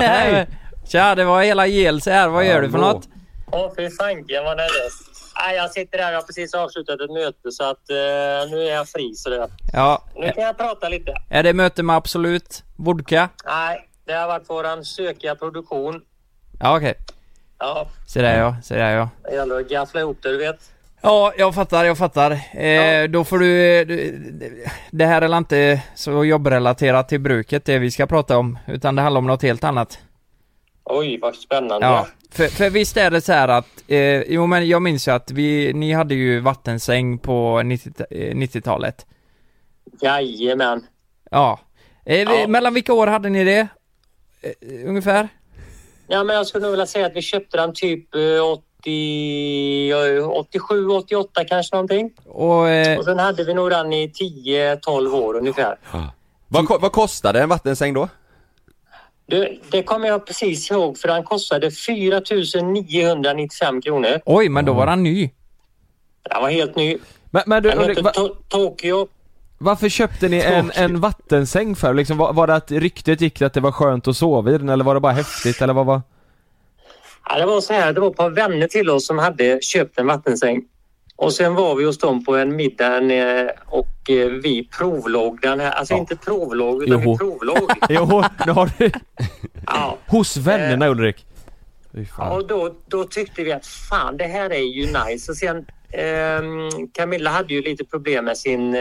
Hej! Tja, det var hela Gels här. Vad gör du för Hallå. något? Åh fy fanken vad nervös. Nej, jag sitter här, jag har precis avslutat ett möte så att eh, nu är jag fri så det. Ja, Nu kan jag prata lite. är det möte med Absolut? Vodka? Nej, det har varit våran sökiga produktion. Ja, okej. Ja, Så där ja, så där ja. det gäller att gaffla ihop det du vet. Ja, jag fattar, jag fattar. Eh, Då får du... eh, du- Det här är inte så jobbrelaterat till bruket, det vi ska prata om. Utan det handlar om något helt annat. Oj vad spännande. Ja, för, för visst är det så här att, eh, jo men jag minns ju att vi, ni hade ju vattensäng på 90, eh, 90-talet. Jajamän. Ja. Eh, vi, Ja. Mellan vilka år hade ni det? Eh, ungefär? Ja men jag skulle nog vilja säga att vi köpte den typ eh, 80, eh, 87, 88 kanske någonting. Och, eh, Och sen hade vi nog den i 10-12 år ungefär. Vad, ko- vad kostade en vattensäng då? Du, det kommer jag precis ihåg för den kostade 4 995 kronor. oj, men då var han ny. Den var helt ny. Men, men du, Den Ulrik, hette va, to- Tokyo. varför köpte ni en, en vattensäng för? Liksom, var, var det att ryktet gick att det var skönt att sova i den eller var det bara häftigt eller vad var? Ja, det var så här, det var ett par vänner till oss som hade köpt en vattensäng. Och sen var vi hos dem på en middag eh, och eh, vi provlåg den här. Alltså inte provlåg utan Joho. vi provlåg. Jo, nu har du... Ja. Hos vännerna Ulrik. Fy Ja, fan. Och då, då tyckte vi att fan det här är ju nice. Och sen ehm, Camilla hade ju lite problem med sin eh,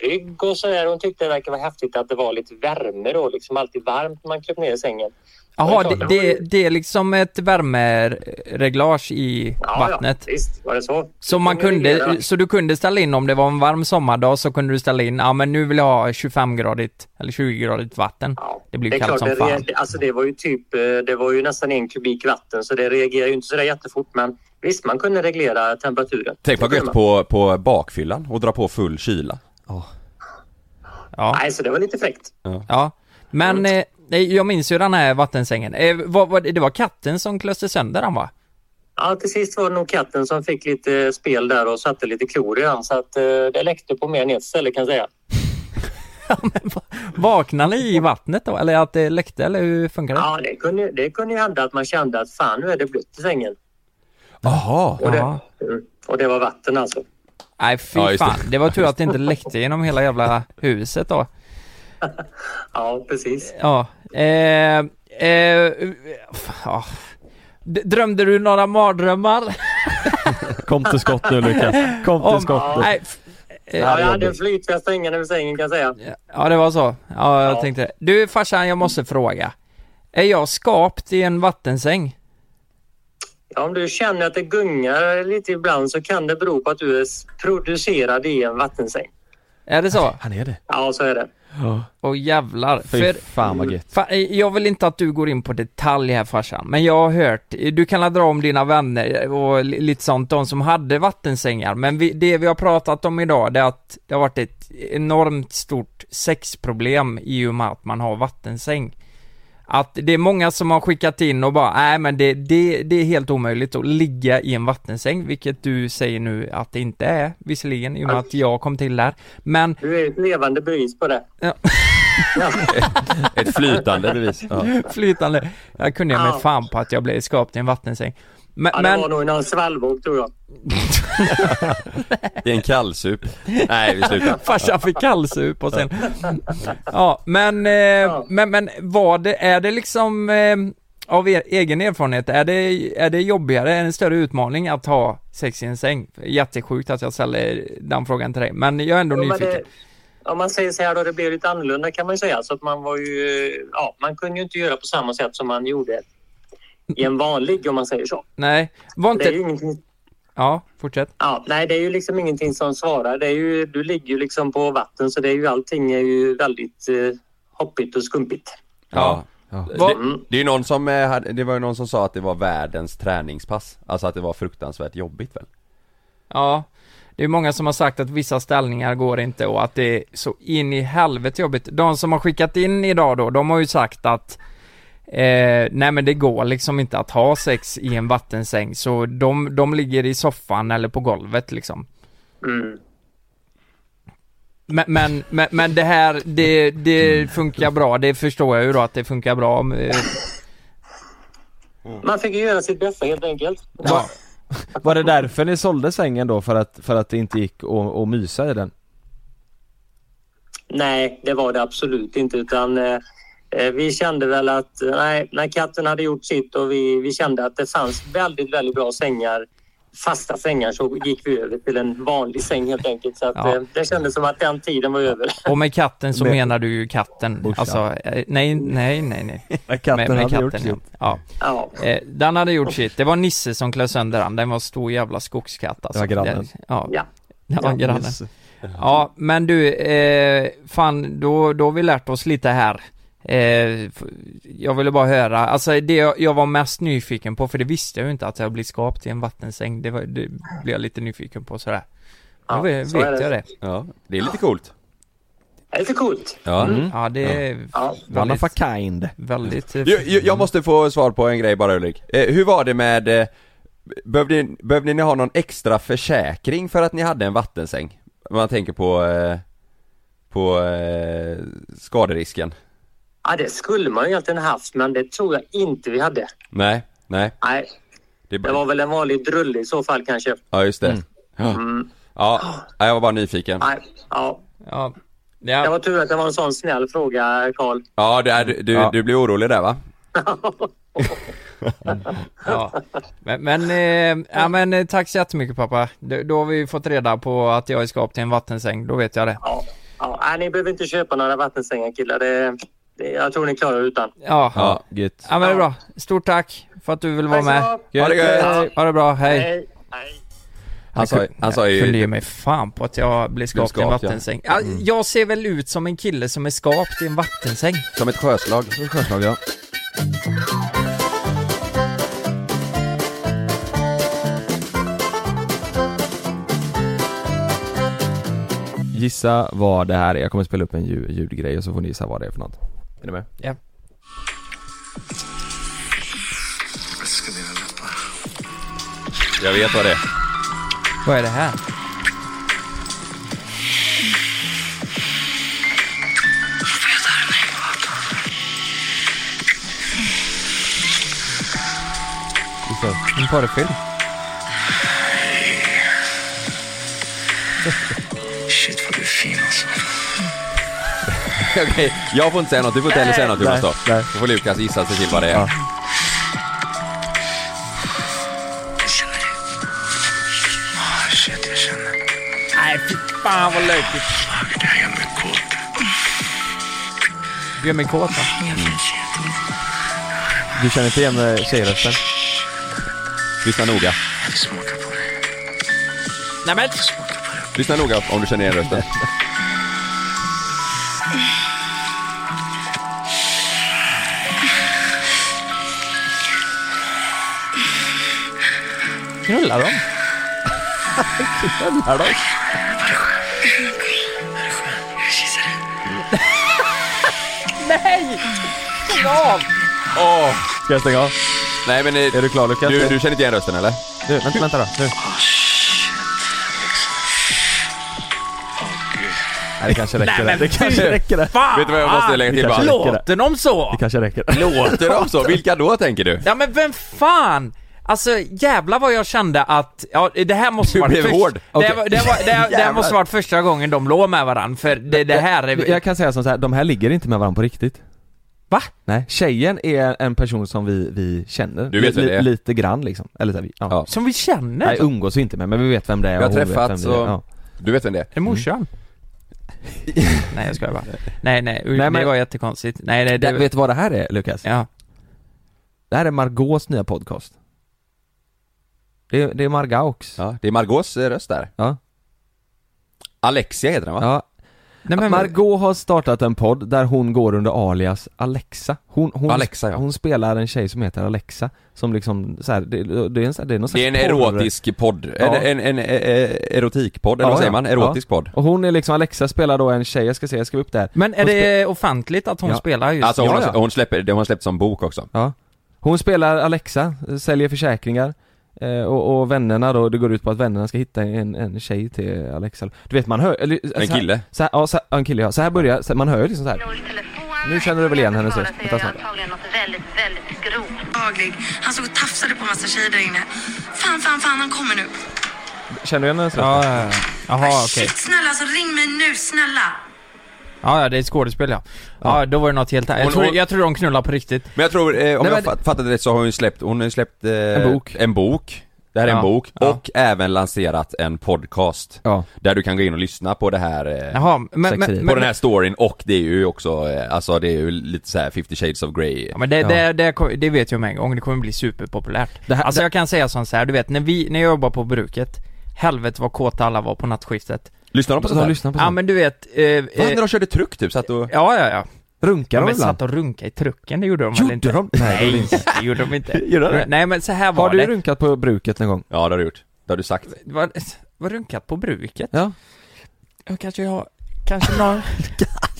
rygg och sådär. Hon tyckte det verkar vara häftigt att det var lite värme då. Liksom alltid varmt när man kröp ner i sängen. Jaha, Det är det, klart. det, det är liksom ett värmereglage i vattnet. Ja, visst var det så. Så, man Hon reagerade. kunde, så du kunde ställa in om det var en varm sommardag så kunde du ställa in, ja men nu vill jag ha 25-gradigt eller 20-gradigt vatten. Ja, Det blir ju kallt klart, som det fan. reager- Alltså det var ju typ, eh, det var ju nästan en kubik vatten så det reagerar ju inte så där jättefort. Men visst, man kunde reglera temperaturen. Tänk vad Det kunde gött man. på, på bakfyllan och dra på full kyla. Ja. Nej, så det var lite fräckt. Ja, men eh, nej, jag minns ju den här vattensängen. Eh, vad, vad, det var katten som klöste sönder den va? Ja, till sist var det nog katten som fick lite spel där och satte lite klor i den. Så att eh, det läckte på mer än ett ställe kan jag säga. Vaknade ni i vattnet då? Eller att det läckte eller hur funkar det? Ja, det kunde, det kunde ju hända att man kände att fan nu är det blött i sängen. Jaha! Och Ja. det, Mm. och det var vatten alltså. Nej fy Ja, just det. fan, det var tur att det inte läckte genom hela jävla huset då. Ja, precis. Ja, eh, eh, fan, ja. D- Drömde du några mardrömmar? Kom till skott nu Lukas. Kom till skott nu. nej, f- Ja, jag hade en flytväst hängande över sängen kan jag säga. ja det var så. Ja, jag Ja. tänkte det. Du farsan, jag måste fråga. Är jag skapt i en vattensäng? Ja, om du känner att det gungar lite ibland så kan det bero på att du är s- producerad i en vattensäng. Är det så? Han är det. Ja, så är det. Åh jävlar. Fy För fan vad gött. Fa- eh, Jag vill inte att du går in på detalj här farsan, men jag har hört, eh, du kan dra om dina vänner och li- lite sånt, de som hade vattensängar, men vi, det vi har pratat om idag det är att det har varit ett enormt stort sexproblem i och med att man har vattensäng. Att det är många som har skickat in och bara, nej men det, det, det är helt omöjligt att ligga i en vattensäng, vilket du säger nu att det inte är, visserligen, i och med att jag kom till där. Men Du är ett levande bevis på det. Ja. Ja. Ett flytande bevis. Ja. flytande. Jag kunde jag mig Ja. fan på att jag blev skapt i en vattensäng. Men, Ja, det men var nog någon svallvåg tror jag. I en kallsup. Nej, vi slutar. farsan fick kallsup och sen... Ja, men, eh, men, men vad det, är det liksom eh, av er egen erfarenhet, är det, är det jobbigare, är det en större utmaning att ha sex i en säng? Jättesjukt att jag ställer den frågan till dig, men jag är ändå Jo, men nyfiken. det, om man säger så här då, det blev lite annorlunda kan man ju säga. Så att man var ju, eh, ja, man kunde ju inte göra på samma sätt som man gjorde i en vanlig om man säger så. Nej, var Det är ju inte... ingenting, Ja, fortsätt. ja, nej, det är ju liksom ingenting som svarar. Det är ju, du ligger ju liksom på vatten så det är ju allting är ju väldigt eh, hoppigt och skumpigt. Ja. Vad- Det, det är ju någon som, eh, hade- det var ju någon som sa att det var världens träningspass. Alltså att det var fruktansvärt jobbigt väl? Ja. Det är många som har sagt att vissa ställningar går inte och att det är så in i helvete jobbigt. De som har skickat in idag då, de har ju sagt att eh, nej men det går liksom inte att ha sex i en vattensäng så de, de ligger i soffan eller på golvet liksom. Mm. Men, men, men, men det här, det, det funkar bra, det förstår jag ju då att det funkar bra. om, eh, Man fick ju göra sitt bästa helt enkelt. Ja. Var det därför ni sålde sängen då? För att, för att det inte gick att, att mysa i den? Nej, det var det absolut inte. Utan, eh, eh, vi kände väl att eh, nej, när katten hade gjort sitt och vi, vi kände att det fanns väldigt, väldigt bra sängar, fasta sängar, så gick vi över till en vanlig säng helt enkelt. Så att, Ja. eh, det kändes som att den tiden var över. Och med katten så Med- menar du ju katten. Morsan. Alltså, eh, nej, nej, nej, nej. med, med ja. Ja. ja. Eh, den hade gjort sitt. Det var Nisse som klös sönder den. Den var en stor jävla skogskatt alltså. Det var grannen. Det- Ja, Ja. det var grannen. Ja, men du, eh, fan, då, då har vi lärt oss lite här. Eh, f- jag ville bara höra, alltså det jag, jag var mest nyfiken på, för det visste jag ju inte att jag blivit skapt i en vattensäng. Det, var, det blev jag lite nyfiken på sådär. Ja, då vet, så är vet det. jag det. Ja, det är lite coolt. Mm. Det är lite coolt. Ja. Mm. Ja, det är Ja. One väldigt, of a kind. väldigt... eh, Jag, jag- jag måste få svar på en grej bara Ulrik. Eh, hur var det med, eh, behövde, ni- behövde ni ha någon extra försäkring för att ni hade en vattensäng? Om man tänker på, eh, på eh, skaderisken. Ja, det skulle man ju egentligen haft, men det tror jag inte vi hade. Nej, nej. Nej, Det är det bara... var väl en vanlig drulle i så fall kanske. Mm. Ja just det. Ja. ja, jag var bara nyfiken. Mm. Nej, ja. Ja. Det var Ja, tur att det var en sån snäll fråga, Karl. Ja, det är, du, du, Ja. du blev orolig där va? ja. Men, men, eh, ja, men eh, tack så jättemycket pappa. Då, då har vi ju fått reda på att jag är skapt till en vattensäng, då vet jag det. Ja, ja. Nej, ni behöver inte köpa några vattensängar killar. Det, det, jag tror ni klarar er utan. Ja. ja. Ja. Gött. men det är bra. Stort tack för att du vill vara med. Ha det gött! Ha det bra, hej. Hej. Hej. Han sa, han sa jag kunde ge ju, mig fan på att jag blev skapt i en skapt, ja. Mm. vattensäng. Ja. Jag ser väl ut som en kille som är skapt i en vattensäng. som ett sjöslag. Förslag ja. Gissa vad det här är. Jag kommer spela upp en ljud, ljudgrej och så får ni gissa vad det är för något. Är ni med? Ja. Jag vet vad det är. Vad är det här? Mm. En porrfilm? Shit vad du är fin alltså. Okej, jag får inte säga något, du får inte heller säga något Jonas då. Då får Lukas gissa sig till vad det är. Känner du? Ah shit jag känner. Nej, fy fan vad löjligt. Fuck det här gör mig kåt. Du gör mig kåt va? Du känner inte igen eh, tjejrösten? Lyssna noga. Jag vill smaka på det. Nej men! Smaka på det. Lyssna noga om du känner igen rösten. Knullar de? Jag kissar det. Nej! Lägg av! Åh! Ska jag stänga av? Nej men eh, Är du klar Lukas? du, du känner inte igen rösten eller? Du, vänta, vänta då. Nu. Ah shit. Åh gud. Nej, det kanske räcker. det. det kanske räcker. Det. Vet du vad jag måste lägga till Vi kanske- bara? Låter de så? det kanske räcker. Låter de så? Vilka då tänker du? Ja men vem fan! Alltså jävlar vad jag kände att, ja det här måste Du varit blev först- hård. Det, här var, det, här var, det, här, det här måste varit första gången de låg med varandra för det, det här är... Jag kan säga som så här, de här ligger inte med varandra på riktigt. Va? Nej, tjejen är en person som vi, vi känner. Du vet Li- vem det är. Lite grann liksom. Eller så här, vi, ja. Ja. Som vi känner? Nej, umgås vi inte med, men vi vet vem det är Vi har och hon vet träffats vem det är. och- Ja. Du vet vem det är? Är det Mm. morsan? nej jag skojar bara. Nej nej, nej men- det var jättekonstigt. Nej nej, Det, det... vet du vad det här är Lukas? Ja. Det här är Margaux nya podcast. Det, är- det är Margaux. Ja, det är Margaux eh, röst där. Ja. Alexia heter den va? ja. Nej, men, Margot har startat en podd där hon går under alias Alexa Hon, hon, Alexa, ja. hon spelar en tjej som heter Alexa Som liksom så här, det, det är en, så här- det är någon Det är en slags porr- erotisk podd, Ja. en, en, en, eh, erotikpodd, eller Ja, vad säger ja. man? Erotisk podd Och hon är liksom, Alexa spelar då en tjej, jag ska se, jag skrev upp det här men är hon det offentligt att hon Ja. spelar just Alltså hon, Ja, har- ja. hon släpper, det har hon släppt som bok också Ja. Hon spelar Alexa, eh, säljer försäkringar eh, och, och vännerna då, det går ut på att vännerna ska hitta en, en tjej till Alexa Du vet man hör, eller, En kille Så här, ja, så här, ja, en kille ja, så här börjar, så här, man hör ju liksom så här. Nu känner du väl igen hennes röst? Vänta snart. Antagligen något väldigt, väldigt grovt. Daglig. Han stod och tafsade på massa tjejer där inne. Fan, fan, fan, han kommer nu. Känner du igen hennes röst? Ja, ja, ja. Jaha, okej. Shit, snälla, alltså ring mig nu, snälla. Ja, ja, det är ett skådespel ja. Ja, då var det något helt annat. Jag Hon- tror, hon- jag tror de knullar på riktigt. Men jag tror, eh, om men jag det- fa- fattade rätt så har hon ju släppt, hon har ju släppt eh, En bok. en bok Det här är Ja. en bok, Ja. och även lanserat en podcast Ja. Där du kan gå in och lyssna på det här eh, Jaha, men... men, Sexeri. men På den här storyn och det är ju också, eh, alltså det är ju lite så här 50 shades of grey Ja, men det, Ja. det, det, kom- det vet jag med en gång, det kommer bli superpopulärt. Det här- alltså det- jag kan säga som så här, du vet när vi, när jag jobbade på bruket, helvete vad kåta alla var på nattskiftet. Lyssnar de på Så sånt de här? lyssnar på Ja sånt? men du vet, eh, eh, Vad hände när de körde truck typ? Så att du... Ja, ja, ja. Runkar de De ibland? satt och runkade i trucken, det gjorde de väl Gjorde inte? de? Nej, Nej, det gjorde de inte. Gjorde de det? Nej men så här var Har du det. runkat på bruket någon gång? Ja det har du gjort, det har du sagt det var, var runkat på bruket? Ja. Jag kanske har, kanske någon...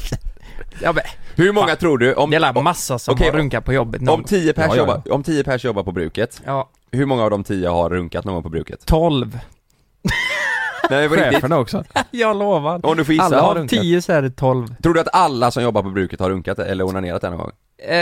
ja men, Hur många tror du, om, det är la om, massa som Okej, har runkat på jobbet någon om 10 pers Ja, ja, ja. jobbar, om 10 pers jobbar på bruket, Ja, hur många av de 10 har runkat någon gång på bruket? 12. Nej men på riktigt, Cheferna också? Jag lovar. om du får gissa, Alla har Av runkat. 10 så är det 12. tror du att alla som jobbar på bruket har runkat eller onanerat en gång? Eh,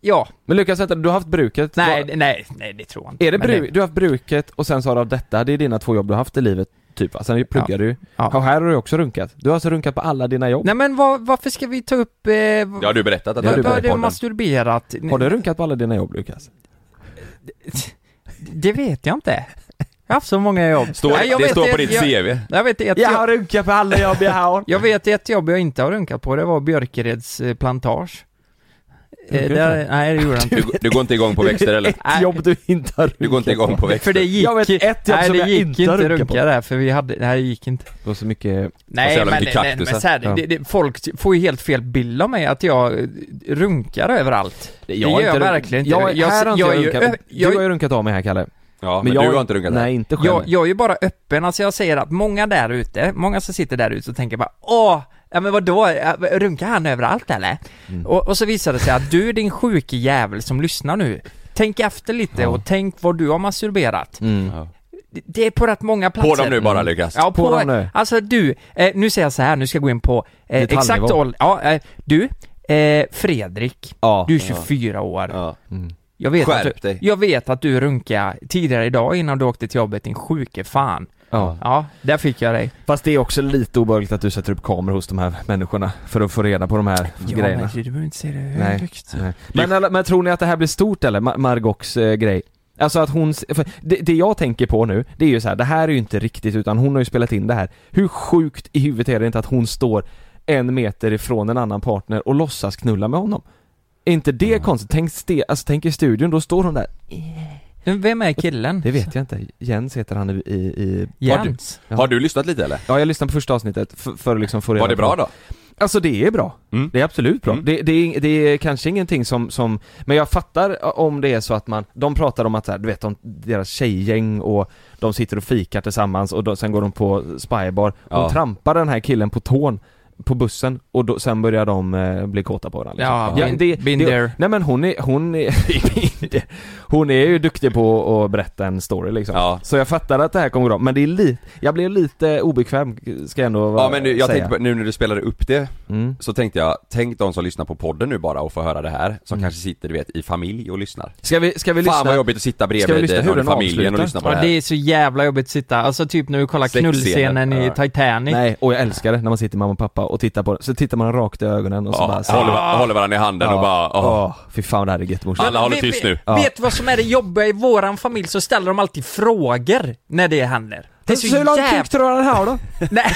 ja. Men Lukas vänta, du har haft bruket? Nej, Vad- det- nej, nej det tror jag inte. Är det Men bru- Du har haft bruket och sen så har du haft detta, det är dina två jobb du har haft i livet typ va? Sen pluggar du ju. Ja. Och här har du också runkat. Du har alltså runkat på alla dina jobb. Nej men vad, varför ska vi ta upp... Eh, Det har du berättat att Ja, du har du berättat. gjort i det podden. masturberat? Har du runkat på alla dina jobb Lukas? Det vet jag inte. Jag har haft så många jobb. Står, Nej, jag det vet står ett- på ditt jag, CV. Jag vet ett jobb. runkat på alla jobb jag har. Jag vet ett jobb jag inte har runkat på, det var Björkereds eh, plantage. Eh, Runkade där, du? nej det gjorde jag inte. Du, du går inte igång på växter eller? Nej. Jobb du inte har runkat Du går inte igång på växter? För det gick, Jag vet ett jobb nej, som det jag gick inte har inte runkat på. runka där för vi hade, nej det gick inte. Det var så mycket... Och så Nej jävla men, nej, mycket nej, kaktusar. men så här, Ja. det, det, folk får ju helt fel bild av mig att jag eh, runkar överallt. Det gör jag verkligen inte. Jag, jag, här har inte jag, jag, är ju runkat. ö- jag, du har är- ju runkat av mig här Kalle. Ja, men, du har inte runkat Nej, där? inte själv. jag, jag är ju bara öppen, alltså jag säger att många där ute, många som sitter där ute och tänker bara åh, ja men vadå, Ja, runkar han överallt eller? Mm. Och, och så visar det sig att du din sjuke jävel som lyssnar nu, tänk efter lite och tänk vad du har masturberat. Mm. Ja. Det- Det är på rätt många platser. Mm. På dem nu bara Lukas. Ja, På på, dem nu. Alltså du, eh, nu säger jag så här, nu ska jag gå in på eh, Detaljnivå. exakt ålder. Ja, eh, du, eh, Fredrik, Ja. du är 24 år. Ja. Jag vet, Skärp att du, dig. jag vet att du runkade tidigare idag innan du åkte till jobbet, din sjuke fan. Ja. Ja, där fick jag dig. Fast det är också lite obehagligt att du sätter upp kameror hos de här människorna för att få reda på de här grejerna. du behöver inte säga det Nej. Nej. Men, alla- men tror ni att det här blir stort eller? Ma- Margots eh, grej? Alltså att hon, s- för det, det jag tänker på nu, det är ju så här, det här är ju inte riktigt utan hon har ju spelat in det här. Hur sjukt i huvudet är det inte att hon står en meter ifrån en annan partner och låtsas knulla med honom? Är inte det konstigt? Tänk, ste, alltså, tänk i studion, då står hon där. Men Vem är killen? Det vet jag inte, Jens heter han i... i, i Jens. Ja. Har du lyssnat lite eller? Ja, jag lyssnade på första avsnittet för, för att liksom få reda Var det på- bra då? Alltså det är bra. Mm. Det är absolut bra. Mm. Det, det, är, det är kanske ingenting som, som, men jag fattar eh, om det är så att man, de pratar om att så här, du vet de, deras tjejgäng och de sitter och fikar tillsammans och då, sen går de på spybar. Hon Ja. trampar den här killen på tån på bussen och då, sen börjar de eh, bli kåta på varandra. Ja, been- been det, there. Nej men hon är, hon är, hon är ju duktig på att berätta en story liksom. Ja. Så jag fattar att det här kommer bra, men det är lite, jag blev lite obekväm ska jag ändå Ja men nu, jag säga. tänkte på, nu när du spelade upp det Mm. Så tänkte jag, tänk de som lyssnar på podden nu bara och får höra det här Som kanske sitter du vet i familj och lyssnar Ska vi, ska vi lyssna? Fan vad jobbigt att sitta Ska vi bredvid lyssna eh, hur någon i den familjen och avslutar? lyssna på det Ja, det här är så jävla jobbigt att sitta, alltså typ när vi kollar Sexscenen. knullscenen i Titanic. Nej, och jag älskar det när man sitter mamma och pappa och tittar på det. Så tittar man rakt i ögonen och så ja, bara så, håller, va- håller varandra i handen och bara, åh. Åh, fy fan det här är gött morsan. Alla håller Vet- tyst nu. Ja. Vet du vad som är det jobbiga i våran familj? Så ställer de alltid frågor när det händer. Det är så, jävla... du han har då? Nej.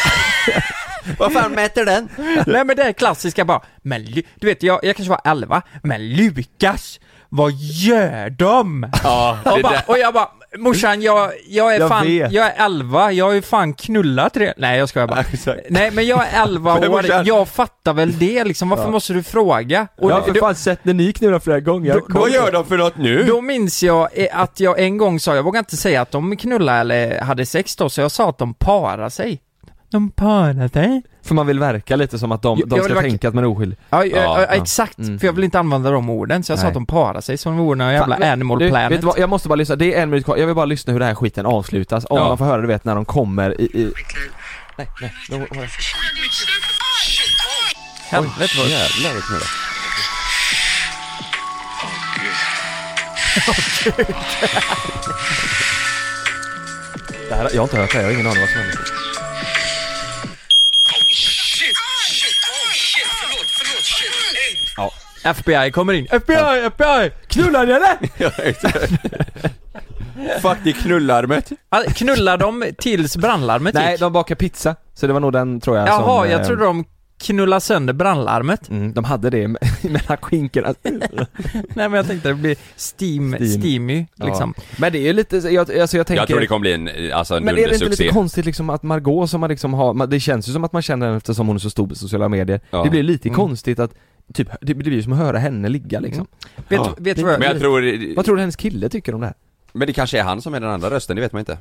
Vad fan mäter den? Nej men det är klassiska bara, men Lu- du vet jag, jag kanske var 11, men Lukas, vad gör de? Ja, Och, det bara, där. och jag bara, morsan jag, jag är Jag fan, vet. jag är 11, jag har ju fan knullat redan. Nej jag skojar bara. exakt. Nej men jag är 11 Men år, morsan- jag fattar väl det liksom, varför måste du fråga? Och Jag har för då, fan sett när ni knullar flera gånger. Jag kom- Vad gör de för något nu? då minns jag eh, att jag en gång sa, jag vågar inte säga att de knullade eller hade sex då, så jag sa att de parar sig. De parar sig? För man vill verka lite som att de, Jag- de jag ska vill verkligen- tänka att man är oskyldig. Ja, ja, Ja, ja, ja. exakt, Mm. för jag vill inte använda de orden, så jag sa Nej. att de parar sig som vore någon jävla Fan, animal du, planet. Vet du vad, jag måste bara lyssna, det är en minut kvar. Jag vill bara lyssna hur den här skiten avslutas. Om Ja. man får höra du vet när de kommer i... i... Nej, nej. Då- då- Helvete vad... Jävlar vad knullar. Det här, jag har inte hört det här, jag har ingen aning vad som händer. FBI kommer in. FBI, FBI! Knullar ni eller? Ja, exakt. Fuck det är knullarmet. Alltså, knullar de tills brandlarmet Nej, gick? de bakar pizza. Så det var nog den tror jag Jaha, som, eh, jag trodde de knullade sönder brandlarmet. Mm, de hade det me- mellan skinkorna. Nej men jag tänkte det blir steam, Steam. steamy liksom. Ja. Men det är ju lite, så- jag, alltså jag tänker... Jag tror det kommer bli en, alltså en men är det inte dundersuccé. lite konstigt liksom att Margot som man liksom har, man, det känns ju som att man känner henne eftersom hon är så stor på sociala medier. Ja. Mm. Det blir lite konstigt att, typ, det blir ju som att höra henne ligga liksom. Vet, Ja. vet du vad Men jag tror, eh, Vad tror du hennes kille tycker om det här? men det kanske är han som är den andra rösten, det vet man inte.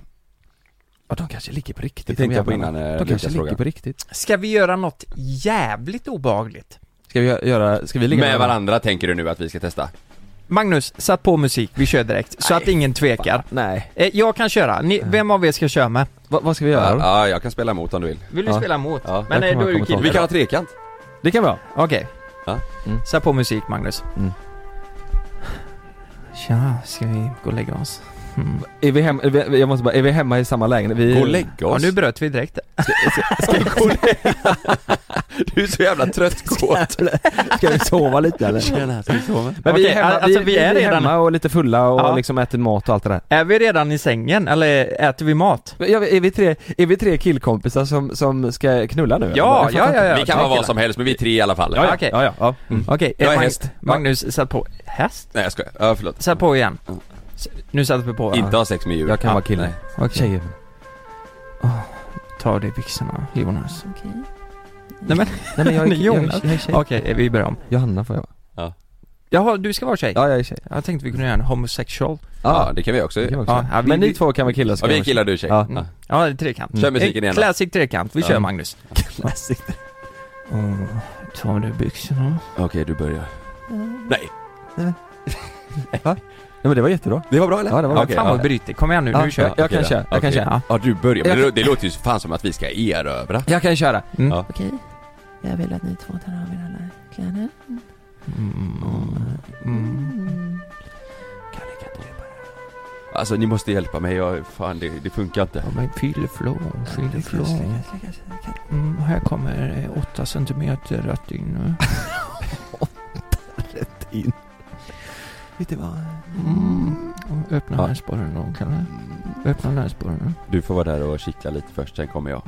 Ja, de kanske ligger på riktigt. Det tänkte de jag på jävlarna. innan, eh, De Lukas kanske ligger frågade. på riktigt. Ska vi göra något jävligt obehagligt? Ska vi gö- göra, ska vi ligga Med varandra tänker du nu att vi ska testa? Magnus, satt på musik, vi kör direkt. Så att ingen tvekar. Nej. Eh, Jag kan köra, Ni, vem av er ska köra med? Va, vad ska vi göra Ja, då? ja, jag kan spela emot om du vill. Vill du Ja. spela emot? Ja. Men Jag eh, kommer då är du komma kille. Vi kan ha trekant. Det kan vi ha. Okej. Ja. Mm. Sätt på musik Magnus. Mm. Tja, ska vi gå och lägga oss? Är vi hemma, är vi, jag måste bara, är vi hemma i samma lägenhet? Vi, Gå och lägg Ja, oss. nu bröt vi direkt. Du är så jävla tröttkåt. Ska vi sova lite eller? Men vi Okej, är hemma, alltså, vi, vi är redan- hemma och lite fulla och Ja. liksom äter mat och allt det där. Är vi redan i sängen eller äter vi mat? Ja, är, vi tre, är vi tre killkompisar som, som ska knulla nu? Ja, ja, ja, ja. Vi kan vara vad som helst men vi är tre i alla fall. Ja, ja, Okej. ja, ja, ja. Mm. Okej, Jag eh, är Mag- häst. Magnus, sätt på. Häst? Nej jag skojar, ja, förlåt. Sätt på igen. S- Nu sätter vi på. Inte ha sex med djur. Jag kan Ja, vara kille. nej. Okej. Tjejer. Ta av dig byxorna, Jonas. Okej. Nej men, Nej men jag är, Nej, jag är, Jonas. jag är tjej. okej, eh, vi börjar om. Johanna får jag vara. Jaha, du ska vara tjej? Ja, jag är tjej. Jag tänkte vi kunde göra en homosexual. Ja, det kan vi också. det kan vi också. Ja, ja, vi- men ni vi- två kan vara killar så Ja, kan vi är jag killar, vara du är tjej. Ja. Ja. Ja, det är trekant. Eh, Kör musiken igen då. Classic trekant, vi Ja. kör Magnus. Classic. Mm. Ta av dig byxorna. Okej, du börjar. Nej, Ja, men det var jättebra. det var bra eller? Ja, det var bra. Okej, Fan vad bryter, kom igen nu, Ja, nu kör jag kan Okej, köra, då. jag kan Okej. köra. Ja. Ja, du börjar. Men Jag- det, det låter ju fan som att vi ska erövra. Jag kan köra. Mm. Ja. Okej, jag vill att ni två tar av er alla kläder. Mm. Alltså ni måste hjälpa mig, jag, fan det, det funkar inte. Ja, men fylleflån, fylleflån. Mm, här kommer eh, åtta centimeter rött in. Vet du vad? Mm. Och Öppna Ja. näsborren då, Kalle. Öppna näsborren. Mm. Du får vara där och kittla lite först, sen kommer jag.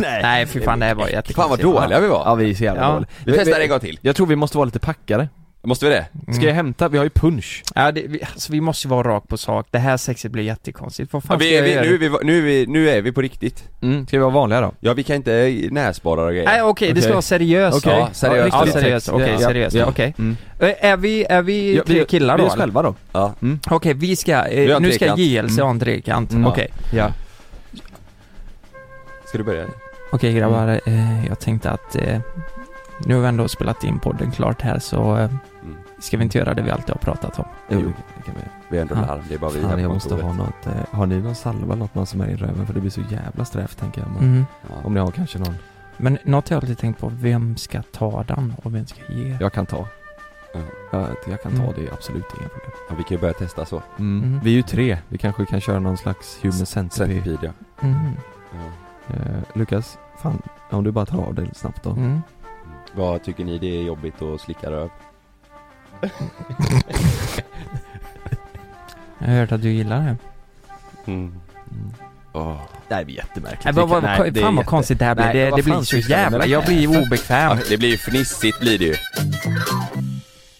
Nej. Nej, för fan det här var jättekonstigt. Fan vad dåliga vi Ja, var! vi är så jävla Ja. dåliga. Vi testar en gång till. Jag tror vi måste vara lite packade. Måste vi det? Ska jag hämta? Vi har ju punch. Ja, det, vi, alltså, vi måste ju vara rakt på sak. Det här sexet blir jättekonstigt. Vad Ja, fan ska vi, jag är- vi, göra? nu, är vi, nu, är vi, nu är vi på riktigt. Mm. Ska vi vara vanliga då? Ja, vi kan inte eh, näsborrar och grejer. Nej okej, det ska Okej. vara seriöst. Okej. Ja, seriöst. Ja, Ja, seriöst. Okej, Ja, seriöst. ja. Okej. Mm. Eh, Är vi, är vi Ja, tre killar Vi då? är oss eller? själva då. Ja. Okej, vi ska, Vi har eh, en nu ska trekant. JLC ha en trekant. Mm. Okej. Ja. Ska du börja? Okej grabbar, eh, jag tänkte att eh, nu har vi ändå spelat in podden klart här så eh, Mm. ska vi inte göra det vi alltid har pratat om. Jo, Jo, det kan vi göra. Vi är ändå Ja. larm, det är bara vi Fan, här jag på måste kontoret. ha något. Eh, har ni någon salva eller något man som är i röven? För det blir så jävla strävt tänker jag. Men, Mm. Ja. Om ni har kanske någon. Men något jag alltid tänkt på, vem ska ta den och vem ska ge? Jag kan ta. Ja. Jag, jag kan ta Mm. det, är absolut inga problem. Ja, vi kan ju börja testa så. Mm. Mm. Vi är ju tre. Vi kanske kan köra någon slags human centipede. Centipede, ja. Mm. ja. Eh, Lukas, fan. Om du bara tar av dig snabbt då. Mm. Vad tycker ni det är jobbigt att slicka röv? Jag har hört att du gillar det. Mm. Mm. Åh. Det här blir jättemärkligt. Nej, vad, vad, Nej, det är fan vad jätte- konstigt det här blir, Nej, det, vad det blir fan så sysslar du med jävla, det jag här blir ju för? obekväm Det blir ju fnissigt blir det ju.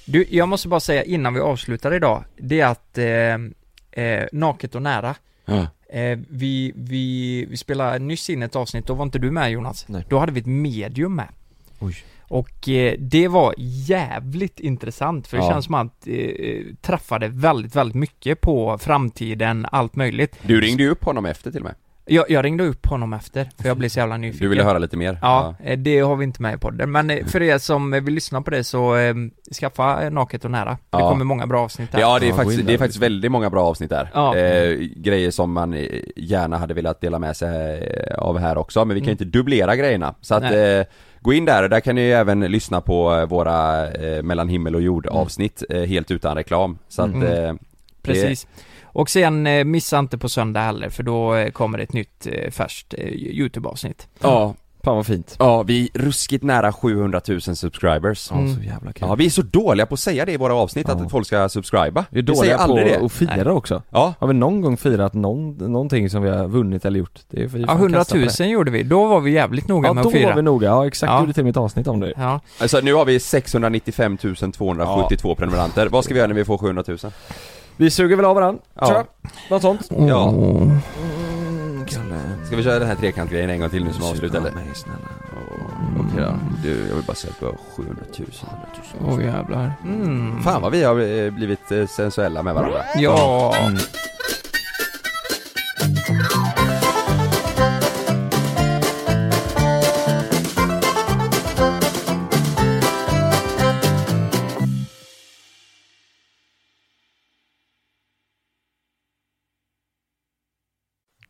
Du, jag måste bara säga innan vi avslutar idag, det är att eh, eh, Naket och nära Ja. eh, vi, vi, vi spelade nyss in ett avsnitt, då var inte du med Jonas Nej. Då hade vi ett medium med Oj. Och eh, det var jävligt intressant för det Ja. känns som att eh, eh, träffade väldigt, väldigt mycket på framtiden, allt möjligt Du ringde ju upp honom efter till och med. Jag, jag ringde upp honom efter, för jag blev så jävla nyfiken Du ville höra lite mer. Ja, eh, det har vi inte med i podden. Men eh, för er som eh, vill lyssna på det så eh, skaffa eh, Naket och nära. Det Ja. kommer många bra avsnitt där. Ja det är, Ja, gå in faktiskt, det där. är faktiskt väldigt många bra avsnitt där. Ja. Eh, grejer som man eh, gärna hade velat dela med sig eh, av här också, men vi kan Mm. ju inte dubblera grejerna. Så att, Nej. eh, gå in där, där kan ni ju även lyssna på eh, våra eh, mellan himmel och jord Mm. avsnitt, eh, helt utan reklam. Så att, eh, Precis. Och sen eh, missa inte på söndag heller för då eh, kommer ett nytt eh, färskt eh, Youtube-avsnitt. ja, Fan vad fint. ja, vi är ruskigt nära 700 000 subscribers. Mm. Ja, så jävla kul. Ja, vi är så dåliga på att säga det i våra avsnitt, Ja. att folk ska subscriba. vi är säger dåliga på aldrig det. att fira också. Ja. Har vi någon gång firat någon, någonting som vi har vunnit eller gjort? Det är för Ja, 100 000 gjorde vi. Då var vi jävligt noga Ja, med då att var vi fira. noga. Ja, exakt. Ja. Gjorde till mitt avsnitt om det. Ja. Alltså nu har vi 695 272 prenumeranter. Vad ska vi göra när vi får 700 000? Vi suger väl av varandra, Ja. tror jag. Något sånt. Ja. Ska vi köra den här trekantgrejen en gång till nu som avslut eller? Mig, Okej då. Du, jag vill bara säga att vi har 700 000. Åh jävlar. Mm. Fan vad vi har eh, blivit eh, sensuella med varandra. Ja.